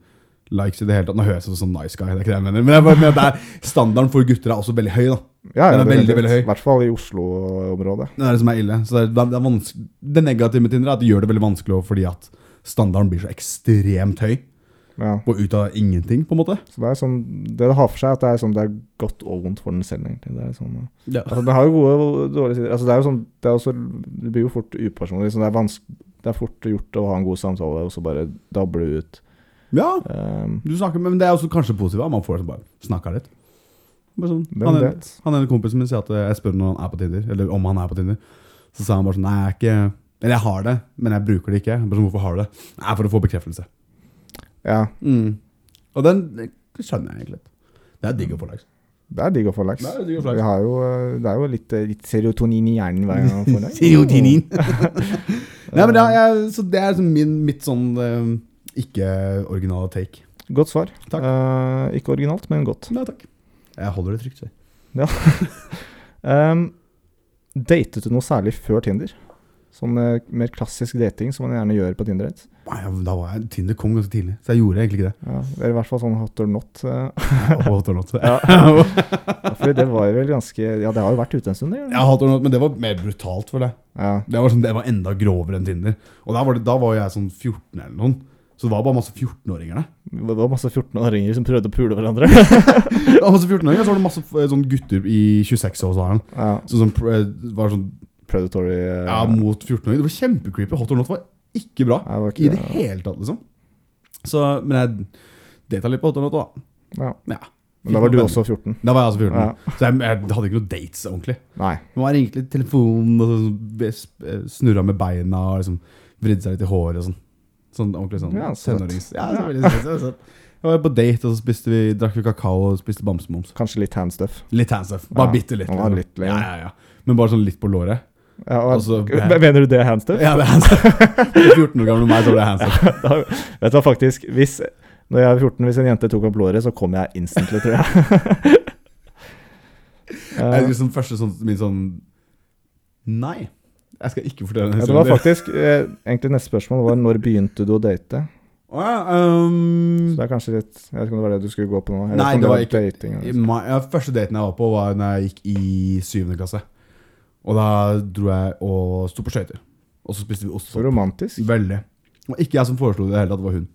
likes i det hele tatt. Nå høres jeg ut som nice guy, det er ikke det jeg mener. Men jeg bare mener at det er, standarden for gutter er også veldig høy. da.
Ja,
Den er veldig,
definitivt.
veldig høy.
I hvert fall i Oslo-området.
Det er det som er ille. Så det, er, det, er vans- det negative med Tinder er at det gjør det veldig vanskelig også fordi at standarden blir så ekstremt høy.
Ja.
Og ut av ingenting, på en måte.
Så det er sånn Det det har for seg, at det er sånn det er godt og vondt for den selv, egentlig. Det er sånn ja.
Ja.
Altså, den har jo gode og dårlige sider. Altså, det er jo sånn Det er også Det blir jo fort upersonlig. Så det er vanskelig Det er fort gjort å ha en god samtale, og så bare dabler det ut. Ehm,
du snakker med, men det er også kanskje positivt at man får sånn bare snakka litt. Bare sånn,
Hvem
han, ene-
vet?
han ene kompisen min sier at eh, jeg spør når han er på Tinder, eller om han er på Tinder. Så sa han bare sånn Nei, jeg er ikke Eller jeg har det, men jeg bruker det ikke. Jeg Bare sånn, Hvorfor har du det? Nei, for å få bekreftelse.
ja.
Og den det skjønner jeg egentlig litt. Det er digg å få liksom. likes.
Det er digg å få laks.
Det er digg å få laks.
Vi har jo, eh, det er jo litt, eh, litt serotonin i hjernen hver gang man får laks.
Serotinin. Nei, men da, jeg, så det er liksom min, mitt sånn eh, ikke-originale take.
Godt svar.
Takk.
Eh, ikke originalt, men godt.
Nei takk. Jeg holder det trygt, så.
Ehm, datet du noe særlig før Tinder? Sånn eh, mer klassisk dating som man gjerne gjør på Tinder. Right?
Nei, Da var jeg Tinder kom ganske tidlig, så jeg gjorde egentlig ikke det.
Ja, eller i hvert fall sånn hot or not. eh.
Jeg hater noe.
Ja. Ja, For det var vel ganske Ja, det har jo vært ute en stund, det. gjør det?
Jeg hater noe, men det var mer brutalt for deg.
Ja.
Det var, sånn, det var enda grovere enn Tinder. Og da var, det, da var jeg sånn 14 eller noen. Så det var bare masse 14-åringer der.
Det var masse 14-åringer som prøvde å pule hverandre.
Det var masse 14-åringer, så var det masse eh, sånn gutter i 26-årsalderen.
ja,
Så sånn, pr- eh, var sånn
predatory eh,
ja, mot 14-åringer. Det var kjempecreepy. Hot or not var ikke bra.
ja, det var ikke-
I det hele tatt, liksom. Så, men jeg data litt på hot or not, da.
ja.
Ja.
Men da var du også 14.
Da var jeg altså 14.
Ja.
Så jeg, jeg hadde ikke noen dates ordentlig.
Nei.
Man ringte litt telefonen og sånn, snurra med beina og liksom vridde seg litt i håret og sånn. Sånn ordentlig sånn
Ja, søtt.
tenårings... Ja, så veldig søtt, så søtt. Jeg var på date, og så spiste vi, drakk vi kakao og spiste bamsemums.
Kanskje litt handstuff.
Litt liksom. handstuff. Bare
Ja,
bitte litt.
man var litt lei.
ja, ja, ja. Men bare sånn litt på låret.
Ja, og,
Altså,
Men- mener du det er handstuff?
Ja, det er hands up. 14 år gamle meg, så var det hands up.
Da, vet du hva, faktisk, hvis, når jeg var 14, hvis en jente tok opp låret, så kom jeg instantly, tror jeg.
Jeg
Eh,
husker sånn første sånn, min sånn Nei. Jeg skal ikke fortelle den
ja, det var
historien.
faktisk eh, Egentlig neste spørsmål var når begynte du å date?
Å ja, um,
Så det er kanskje litt Jeg vet ikke om det var det du skulle gå på nå? Jeg vet
Nei,
om
det var
dating, altså.
I
eller-
mai, ja, første daten jeg var på, var når jeg gikk i syvende klasse. Og da dro jeg og sto på skøyter. Og så spiste vi
Så
ostepop.
romantisk.
Veldig. Og ikke jeg som foreslo det heller, at det var hun.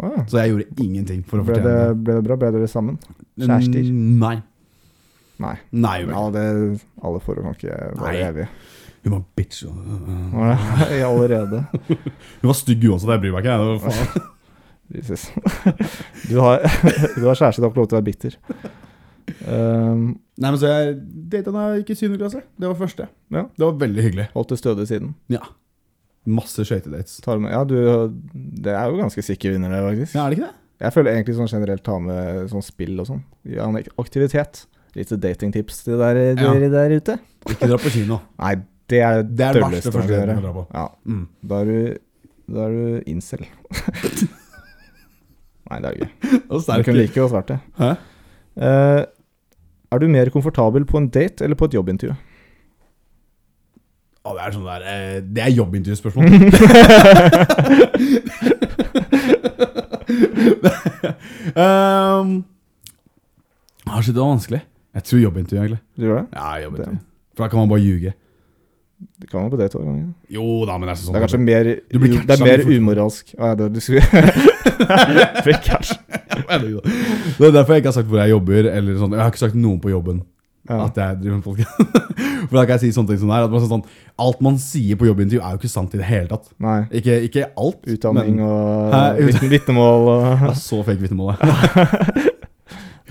Å, ja.
Så jeg gjorde ingenting Mm. for å
ble,
fortjene det.
det, ble det bra? Ble dere sammen? kjærester?
Mm, Nei.
Nei.
Nei, hun var-
Ja, det, alle forhold kan ikke
Nei. Mm.
være evige.
hun var bitch. Hun
Å, ja, Allerede.
var stygg uansett, jeg bryr meg ikke. jeg. Det var faen.
Jesus. Du har, du har kjæreste, du har ikke lov til å være bitter. Ehm,
Nei, men så jeg data da jeg gikk i syvende klasse. Det var første.
Ja.
Det var veldig hyggelig.
holdt du stødig siden?
Masse skøytedates.
Tar med, ja, du Det er jo ganske sikker vinner, det, faktisk.
Ja, er det ikke det?
Jeg føler egentlig sånn generelt ta med sånn spill og sånn. Ja, en aktivitet. Litt datingtips til dere
Ja.
dere der ute.
Ikke dra på kino.
Nei, det er
Det er det verste første
man kan
daten
gjøre.
du kan dra på.
Ja,
Mm.
da er du Da er du incel. Nei, det er gøy.
Og
Du kunne like godt vært det.
Hæ?
Eh, er du mer komfortabel på en date eller på et jobbintervju?
Å, det er sånn der eh, Det er jobbintervjuspørsmål. um, ah, shit, det var vanskelig. Jeg tror jobbintervju, egentlig.
Du gjør det?
Ja, jobbintervju. For da kan man bare ljuge.
Du kan jo på date også, kan du ikke?
Jo da, men det er sånn
Det er kanskje mer,
Du blir
det er
catcha
mer
litt fort.
umoralsk. Å, ja, det, du skulle Blir catcha.
Det er derfor jeg ikke har sagt hvor jeg jobber. Eller sånn. Jeg har ikke sagt noe på jobben.
Ja.
At jeg driver med podcast. For da kan jeg si sånne ting som det her. At man, sånn, sånn, alt man sier på jobbintervju, er jo ikke sant i det hele tatt.
Nei.
Ikke, ikke alt.
Utdanning
men,
og
Hæ? Ut- Altså,
vitne- vitnemål og
Det er så fake vitnemålet.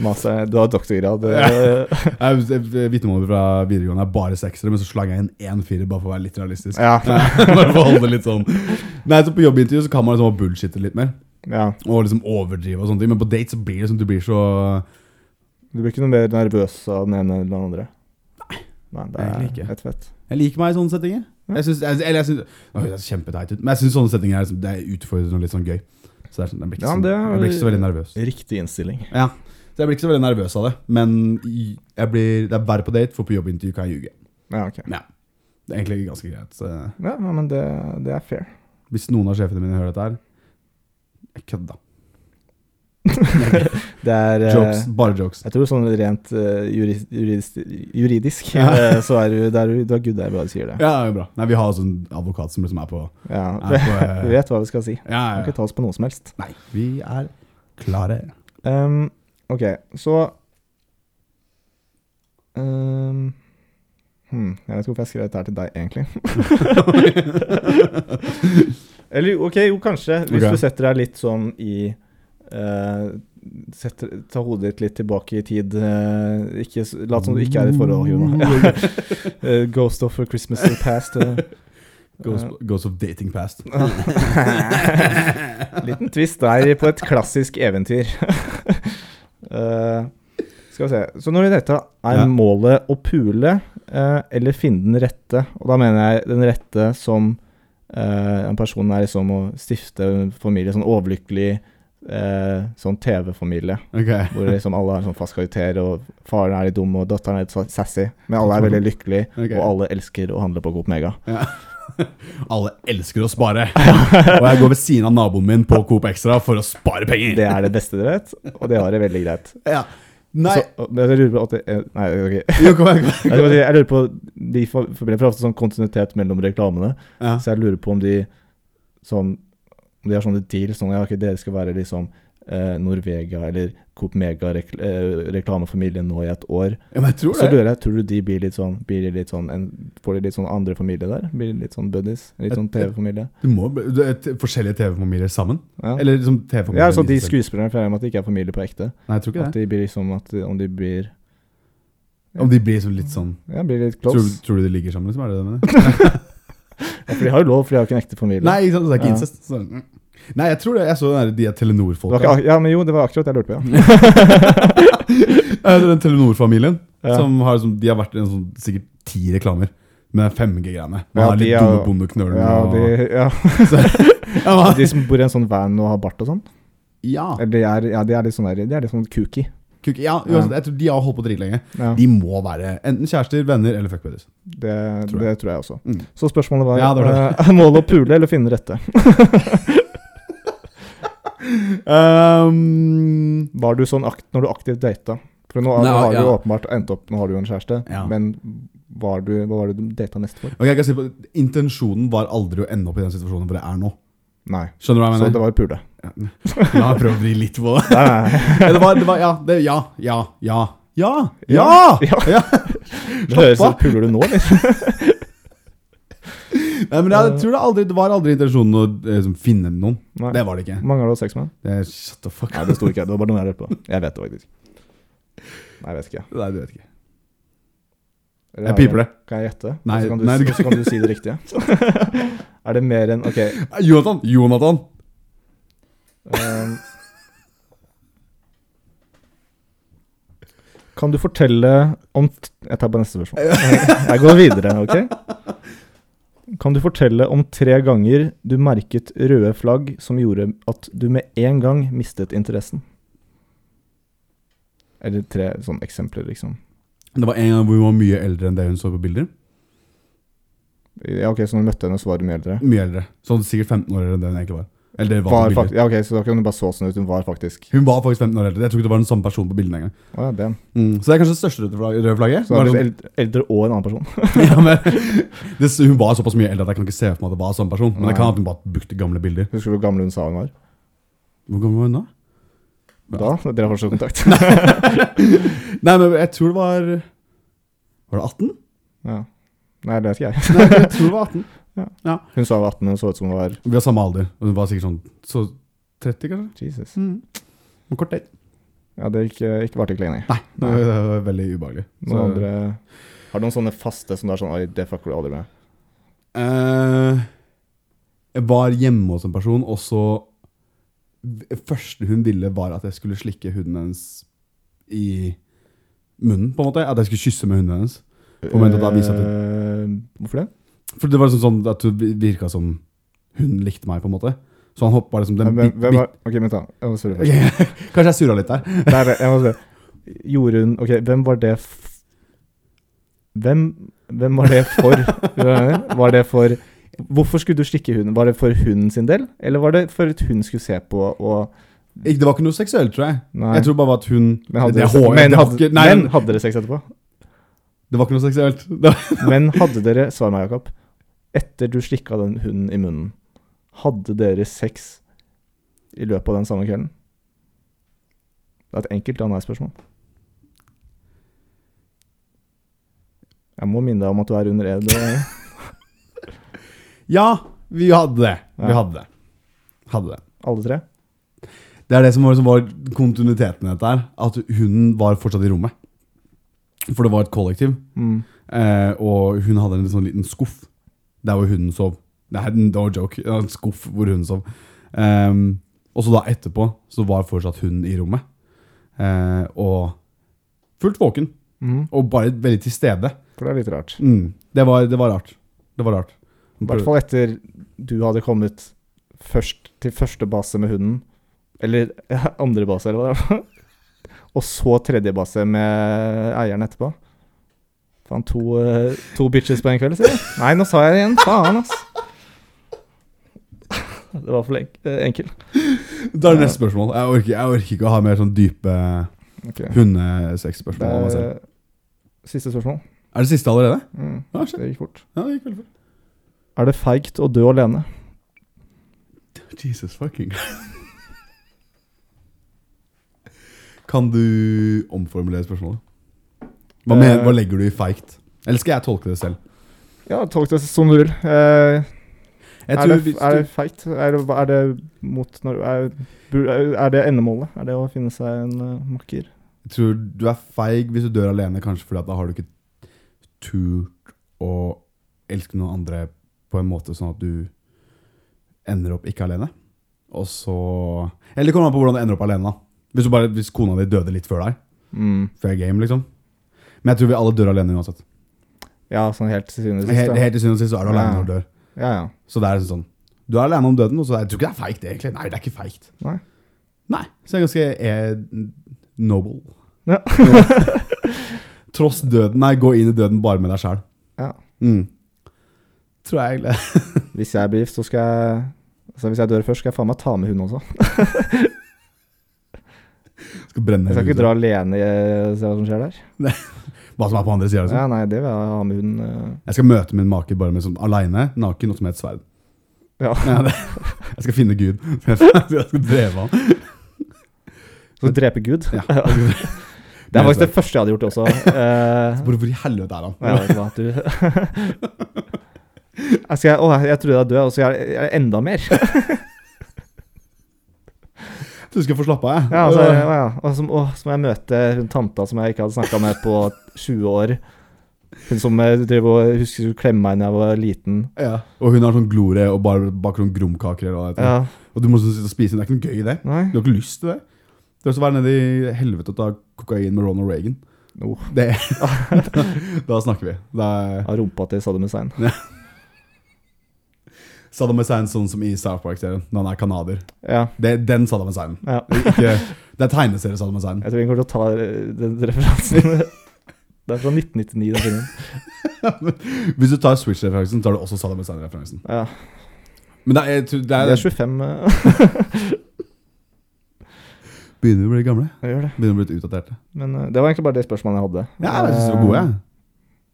masse. Du har doktorgrad. eh,
Jeg- jeg- Vitnemålet fra videregående er bare seksere, men så slang jeg inn én firer bare for å være litt realistisk.
Ja.
bare for å holde det litt sånn Nei, så På jobbintervju så kan man liksom bullshitte litt mer,
ja.
og liksom overdrive. og sånne ting Men på date så blir det som du blir så
Du blir ikke noe mer nervøs av den ene eller den andre? Nei. det er
Egentlig ikke.
helt fett.
Jeg liker meg i sånne settinger. Jeg synes, jeg, eller jeg synes, Nå høres jeg kjempeteit ut, men jeg syns sånne settinger er, liksom, det er utfordrende og litt sånn gøy. Så det er sånn, jeg, blir ikke
Ja,
sånn,
det er-
jeg blir ikke så veldig nervøs.
Riktig innstilling.
Ja, så Jeg blir ikke så veldig nervøs av det, men i- jeg blir, det er verre på date, for på jobbintervju kan jeg ljuge.
Ja, ok.
Det er egentlig ganske greit. Så
Ja, ja, men det, det er fair.
hvis noen av sjefene mine hører dette her Jeg kødda.
Det er eh,
Jokes. Bare jokes.
Jeg tror sånn rent eh, juris, juris, juridisk
Ja.
eh, så er du, det er, du- du har good der bare du sier det.
Ja, det er bra. Nei, vi har sånn advokat som liksom er på,
Ja,
er på eh,
Du vet hva vi skal si.
ja,
Du kan
ja,
ikke ta oss på noe som helst.
Nei, vi er klare.
Ehm, ok, så Ehm, hmm, Jeg vet ikke hvorfor jeg skrev dette her til deg, egentlig. Eller jo, ok, jo, kanskje. Hvis
Ok.
du setter deg litt sånn i eh, setter, Ta hodet ditt litt tilbake i tid. eh, ikke, s- lat som du ikke er i et forhold,
Mm.
Jona. Eh, Ghost of Christmas past. eh.
Goes, goes of dating past.
Liten twist der på et klassisk eventyr. Eh, skal vi se. Så når vi dette er
Ja.
målet å pule eh, eller finne den rette. Og da mener jeg den rette som eh, en person er liksom å stifte en familie, sånn overlykkelig eh, sånn TV-familie.
Ok.
Hvor liksom alle har en sånn fast karakter, og faren er litt dum, og datteren er litt sånn sassy. Men alle er veldig lykkelige,
Ok.
og alle elsker å handle på Coop Mega.
Ja. Alle elsker å spare. Og jeg går ved siden av naboen min på Coop Extra for å spare penger.
Det er det beste dere vet, og det har det veldig greit.
Ja. Nei
Så, Altså, men jeg lurer på at det, Nei, ok.
Jo, kom igjen. kom
Jeg,
igjen.
lurer- jeg lurer på De for- forblir for ofte sånn kontinuitet mellom reklamene,
Ja.
så jeg lurer på om de sånn Om de har sånne deals sånn ja, ok, dere skal være liksom eh, Norvega eller Coop Mega rek eh, reklamefamilien nå i et år.
ja, men jeg tror
Så
det.
lurer jeg, tror du de blir litt sånn, blir de litt sånn en, Får de litt sånn andre familie der? Blir de litt sånn buddies? Litt sånn TV-familie?
Du må bli- du, et, Forskjellige TV-familier sammen?
Ja.
Eller liksom TV-familier
ja, så de
viser seg.
skuespillerne føler jeg med at de ikke er familie på ekte.
Nei, jeg tror ikke
At
det.
de blir liksom at de- Om de blir
Om de blir sånn litt sånn
Ja, blir litt
tror,
close.
tror du de ligger sammen, liksom? Er det det du mener?
Ja, for de har jo lov, for de har jo ikke en ekte familie.
Nei, ikke sant? det er ikke
Ja.
incest. Sånn. Nei, jeg tror det. Jeg så den der, de er
Det var ikke,
Telenor-folka.
ak- ja, men jo, det var akkurat det jeg lurte på, ja.
Jeg tror Den Telenor-familien.
Ja.
Som har, som, de har vært i en sånn, sikkert sånn- ti reklamer med den 5G-greiene. Man
Ja,
har
de
litt
er-
dumme bondeknøler.
Ja,
og-
de, ja.
ja, man,
de som bor i en sånn van og har bart og sånn.
ja,
Eller de er, ja, de er litt sånn der, de er litt sånn kooky.
kuk, ja uansett, jeg tror de har holdt på dritlenge.
Ja,
De må være enten kjærester, venner eller fuckbuddies.
det,
tror jeg.
det tror jeg også.
Mm.
Så spørsmålet var
Ja, det var
eh, målet å pule eller finne rette.
Um,
Var du sånn akt, når du aktivt data? For nå
Nei,
har du jo
ja.
åpenbart endt opp Nå har du jo en kjæreste,
Ja.
men var du, hva var det du data mest for?
ok, jeg kan si på, Intensjonen var aldri å ende opp i den situasjonen hvor jeg er nå.
Nei.
Skjønner du hva jeg
Så
mener?
det var pule.
La meg prøve å vri litt på det.
Nei, nei, nei.
Ja, Det var, det var, ja, det, ja, ja, ja, ja, ja!
Ja.
ja.
Det høres
Slapp
ut Puler du nå, liksom. eller?
Nei, men jeg tror det, aldri, det var aldri intensjonen å eh, liksom, finne noen.
Nei.
Det var det ikke.
Hvor mange har du hatt sex med?
Det, shut the fuck
Nei,
up.
det sto ikke her. Det var bare noe jeg lurte på. Jeg vet det faktisk. Nei, jeg vet ikke.
Nei, du vet ikke.
Eller
Jeg
har
piper det.
Kan jeg gjette?
Nei,
Og så kan du,
nei, du kan
og så kan du si det riktige. er det mer enn Ok.
Jonathan! Jonathan!
ehm. kan du fortelle om t- Jeg tar på neste spørsmål. Jeg går videre, ok? Kan du fortelle om tre ganger du merket røde flagg som gjorde at du med en gang mistet interessen? Eller tre sånne eksempler, liksom.
Det var en gang hvor hun var mye eldre enn det hun så på bilder.
Ja, ok, Så når du møtte henne, så var du mye eldre?
Mye eldre. Sånn sikkert 15 år eldre enn det hun egentlig var. Eller det var,
Var
på
fakt
bilder.
ja, ok, Så da kan du bare så sånn ut. Hun var faktisk
Hun var faktisk 15 år eldre. Jeg tror ikke det var den samme personen på bildene engang.
Å ja, den.
Mm. Så det er kanskje det største røde flagg- røde flagget.
Så hun
Bare
er
sånn-
litt eld- eldre og en annen person.
ja, men, det, hun var såpass mye eldre at jeg kan ikke se for meg at det var samme person. Men
Nei.
det kan at hun bare brukte gamle bilder.
Husker du hvor gammel hun sa hun var?
Hvor gammel var hun da?
Da? Dere har fortsatt kontakt?
Nei, men jeg tror det var Var det 18?
ja. Nei, det vet ikke jeg.
Nei, jeg tror det var 18.
Hun sa hun var 18, men hun så ut som hun var
Vi har samme alder. Og hun var sikkert sånn så 30, kanskje?
Jesus.
Mm. En kort date.
Ja, det gikk eh, ikke varte ikke lenge.
Nei, det var veldig ubehagelig.
Noen andre Har du noen sånne faste som du er sånn Oi, det fucker du aldri med.
Eh, jeg var hjemme hos en person, og så Det første hun ville, var at jeg skulle slikke huden hennes i munnen, på en måte. At jeg skulle kysse med huden hennes. Hva mente du da, vise at
Eh, Hvorfor det?
For det var liksom sånn at hun virka som hun likte meg, på en måte. Så han hoppa liksom den
Hvem,
bit,
hvem
bit.
var Ok, vent, da. Jeg må spørre først.
Ok, Kanskje jeg surra litt der.
Der, jeg må spørre. Gjorde hun Ok, hvem var det f... Hvem, hvem var det for? Skjønner du hva jeg mener? Var det for Hvorfor skulle du stikke hunden? Var det for hunden sin del, eller var det for at hun skulle se på og
Ikke- Det var ikke noe seksuelt, tror jeg.
Nei.
Jeg tror bare at hun
men hadde,
det,
dere,
er hår-
men,
det, var
hadde,
ikke, nei,
men hadde dere sex etterpå?
det var ikke noe seksuelt. Det var,
Men hadde dere Svar meg, Jakob. Etter du slikka den hunden i munnen, hadde dere sex i løpet av den samme kvelden? Det er et enkelt ja-nei-spørsmål. Jeg må minne deg om at du er under ed. og-
ja, vi hadde det.
Ja.
Vi hadde det. Hadde det.
Alle tre?
Det er det som var, som var kontinuiteten i dette her. At hun var fortsatt i rommet. For det var et kollektiv.
Mm.
Eh, og hun hadde en sånn liten skuff der hvor hunden sov. Det er no joke. Det var En skuff hvor hunden sov. Ehm, og så da etterpå så var fortsatt hunden i rommet. Eh, og fullt våken.
Mhm.
Og bare veldig til stede.
For det er litt rart.
Mm. Det, var, det var rart. Det var rart.
I hvert fall etter du hadde kommet først til første base med hunden. Eller ja, andre base, eller hva det var. Og så tredje base med eieren etterpå. Faen, to, eh, to bitches på en kveld, sier jeg. Nei, nå sa jeg det igjen. Faen, ass. Det var for lenk, eh, enkel.
Da er det neste spørsmål. Jeg orker, jeg orker ikke å ha mer sånn dype
Ok. Det
hundesexspørsmål. av meg selv.
er, Eh, siste spørsmål.
Er det siste allerede?
Mm,
Ja, shit.
det gikk fort.
Ja, det gikk veldig fort.
Er det feigt å dø alene?
Jesus fucking Kan du omformulere spørsmålet? Hva,
Eh.
mener, hva legger du i feigt? Eller skal jeg tolke det selv?
Ja, tolk det som du vil.
Jeg
Eh, er,
tror
det,
hvis
er det
du,
feigt? Er det, er det mot når, er, bur- er det endemålet? Er det å finne seg en eh, makker?
jeg tror du er feig hvis du dør alene, kanskje fordi at da har du ikke turt å elske noen andre på en måte sånn at du ender opp ikke alene. Og så Eller det kommer an på hvordan du ender opp alene. da. Hvis, du bare, hvis Mm. kona di døde litt før deg. Fair game, liksom. Men jeg tror vi alle dør alene uansett.
Ja, sånn helt til syvende og sist.
Helt,
ja.
helt til syvende og sist så er du alene
Ja.
når du dør.
Ja, ja.
Så det er liksom sånn Du er alene om døden, og så er, jeg tror ikke det er feigt, egentlig. Nei, det er ikke feigt.
Nei.
Nei, så jeg er ganske eh, noble.
Ja.
Tross døden. Nei, gå inn i døden bare med deg sjæl.
Ja.
Mm. Tror jeg egentlig.
Hvis jeg blir gift, så skal jeg Altså Hvis jeg dør først, skal jeg faen meg ta med hun også.
Skal brenne
Jeg skal
huset.
ikke dra alene eh, og se hva som skjer der.
Hva som er på andre sida. Liksom.
Ja, nei, det vil jeg ha med hun. eh.
Jeg skal møte min make bare med sånn aleine, naken og som et sverd.
Ja.
det. Jeg skal finne Gud. Jeg skal dreve han.
Så drepe Gud.
Ja.
Ja. Det er faktisk det første jeg hadde gjort også. Eh,
Hvor, hvor i helvete er han?
ja, det var at du jeg, skal, å, jeg trodde jeg var død, og så er jeg er enda mer.
Du skal få slappe av, jeg.
Ja, altså, å, ja. Og så, å, så må jeg møte hun tanta som jeg ikke hadde snakka med på 20 år. Hun som eh, drev og jeg husker hun klemme meg da jeg var liten.
Ja. Og hun har sånn glorie og bare baker noen grumkaker. Og, alt det.
Ja,
og du må sånn sitte og spise, det er ikke noe gøy i det.
nei.
Du har ikke lyst til det. Det er også å være nede i helvete og ta kokain med Ronald Reagan.
Oh.
Det, da snakker vi. Da er
Av rumpa til Saddam Hussein.
Saddam Hussein sånn som i South Park-serien, når han er canadier.
Ja,
Det er den Saddam Hussein.
ja.
Ikke, det er tegneserie Saddam Hussein.
Jeg tror vi kommer til å ta eh, den referansen. Det er fra 1999, den filmen.
Hvis du tar Switch-referansen, tar du også Saddam Hussein-referansen.
Ja.
Men det er, jeg tror- det er,
Vi er 25 eh,
begynner vi å bli gamle.
jeg gjør det.
Begynner å bli litt utdaterte.
Men eh, det var egentlig bare det spørsmålet jeg hadde.
Ja, jeg syns du var god, jeg.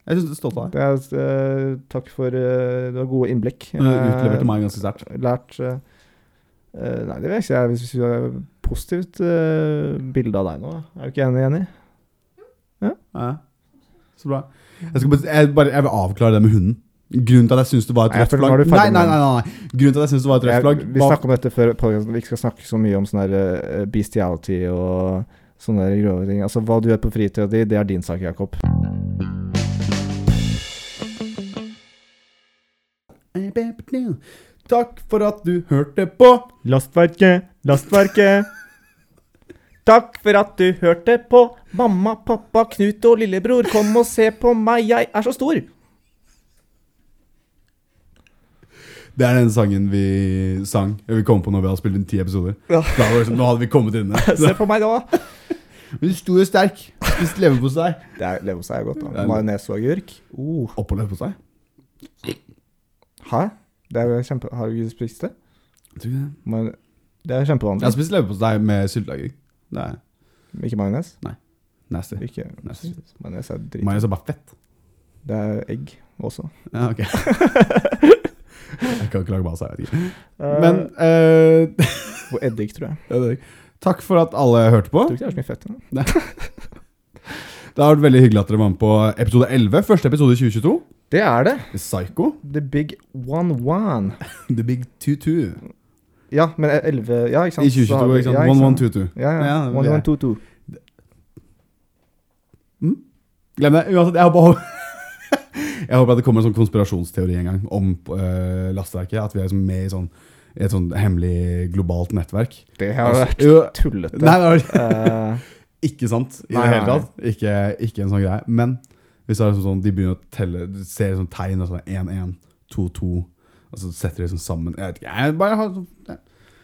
Jeg synes du er stolt av deg.
Eh, det er, eh, takk for eh, Det var gode innblikk.
Du utleverte meg ganske sterkt.
Eh, Lært eh, eh, Nei, det vil jeg ikke si. Jeg syns det er et positivt eh, bilde av deg nå. Er du ikke enig, Jenny?
Ja. Så bra. Jeg, skal bare, jeg, bare, jeg vil avklare det med hunden. Grunnen til at jeg syns det var et
Nei, jeg
rødt
føler-
flagg
nå er du
nei,
ferdig
nei,
med
nei, nei, nei. Grunnen til at jeg syns det var et rødt
Jeg,
flagg
vi
var-
snakka om dette før podcasten. Vi ikke skal snakke så mye om sånn der eh, bestiality og sånne der grove ting. Altså, hva du gjør på fritida di, det er din sak, Jakob.
Takk for at du hørte på.
Lastverket, lastverket. Takk for at du hørte på. Mamma, pappa, Knut og lillebror, kom og se på meg, jeg er så stor.
Det er den sangen vi sang Vi kom på når vi hadde spilt inn ti episoder.
Ja.
Da var det sånn, nå hadde vi kommet inn
Se på meg da.
Men du sto jo sterk. Spiste leverpostei.
Det er leverpostei er godt,
Det
da.
er-
Majones og agurk. Uh.
Oppå leverpostei?
Hæ? Det er jo kjempe... Har du ikke spist det?
Jeg tror ikke det.
Majon- Det er
Jeg har
kjempevanlig.
spist leverpostei med sylteagurk. Det er
Ikke majones?
nasty.
Ikke
Nei, sykt.
majones er drit.
Majones er bare fett.
Det er egg også.
Ja, ok. jeg kan ikke lage masse, jeg vet ikke. Men eh,
Og eddik, tror jeg.
Ja, det er riktig. Takk for at alle hørte på.
Jeg tror ikke det er så mye fett i den.
Det har vært veldig hyggelig at dere var med på episode 11. Første episode i 2022.
Det er det.
Psycho.
The big one one.
The Big 22.
Ja, men 11 Ja, ikke sant.
I
Så har
2022,
vi-
ikke sant?
Ja,
1122.
Ja, ja.
Ja, det var
One,
det.
one, two, two.
Glem det. Uansett, jeg håper, jeg håper at det kommer en sånn konspirasjonsteori en gang om uh, lasteverket. At vi er liksom med i sånn, et sånn hemmelig globalt nettverk. Altså,
Det har vært
Jo,
tullete.
Nei, det var
Eh,
ikke sant i
Nei,
det hele
nei,
tatt. Ikke, ikke en sånn greie. Men hvis det er sånn, sånn, de begynner å telle, du ser sånn tegn og sånn 1-1, 2-2, og så setter de sånn sammen Jeg vet ikke, jeg bare har sånn jeg,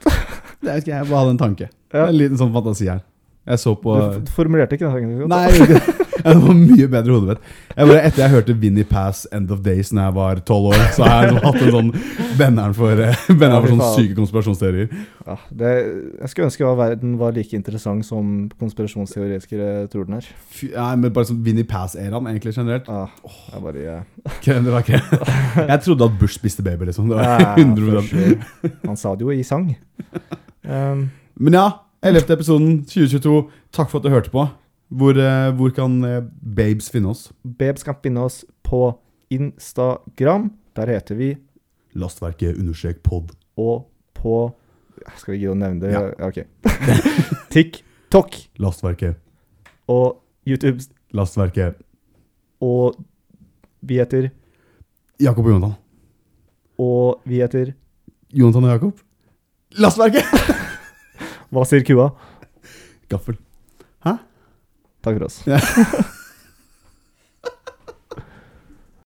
jeg vet ikke, jeg bare hadde en tanke.
Ja.
En liten sånn fantasi her. Jeg så på
du f- formulerte ikke det egentlig så godt.
Nei, jeg gjorde ikke det. det var mye bedre i hodet mitt. Jeg bare, etter jeg hørte Vinnie Pass End of Days Når jeg var tolv år, så har jeg liksom hatt en sånn venneren for, eh, venneren for sånne syke konspirasjonsteorier.
Ja, Ah, det, jeg skulle ønske at verden var like interessant som konspirasjonsteoretikere tror den er.
Fy, nei, men bare sånn Vinnie Pass-eraen, egentlig generelt.
Ah, jeg bare eh,
Ikke- Det var ikke Jeg trodde at Bush spiste baby, liksom. Det var
ja,
100
først, eh, Ah, Han sa det jo i sang. Um,
Men ja, 11. episoden 2022. Takk for at du hørte på. Hvor, eh, hvor kan eh, babes finne oss?
Babes kan finne oss på Instagram. Der heter vi
Lastverket understrek pod.
Og på Skal vi gidde å nevne det?
Ja.
Ja. Ok. TikTok
Lastverket.
og YouTube
Lastverket.
og vi heter
Jakob og Jonathan.
Og vi heter
Jonathan og Jakob. Lastverket!
Hva sier kua?
Gaffel.
Takk for oss.
Ja.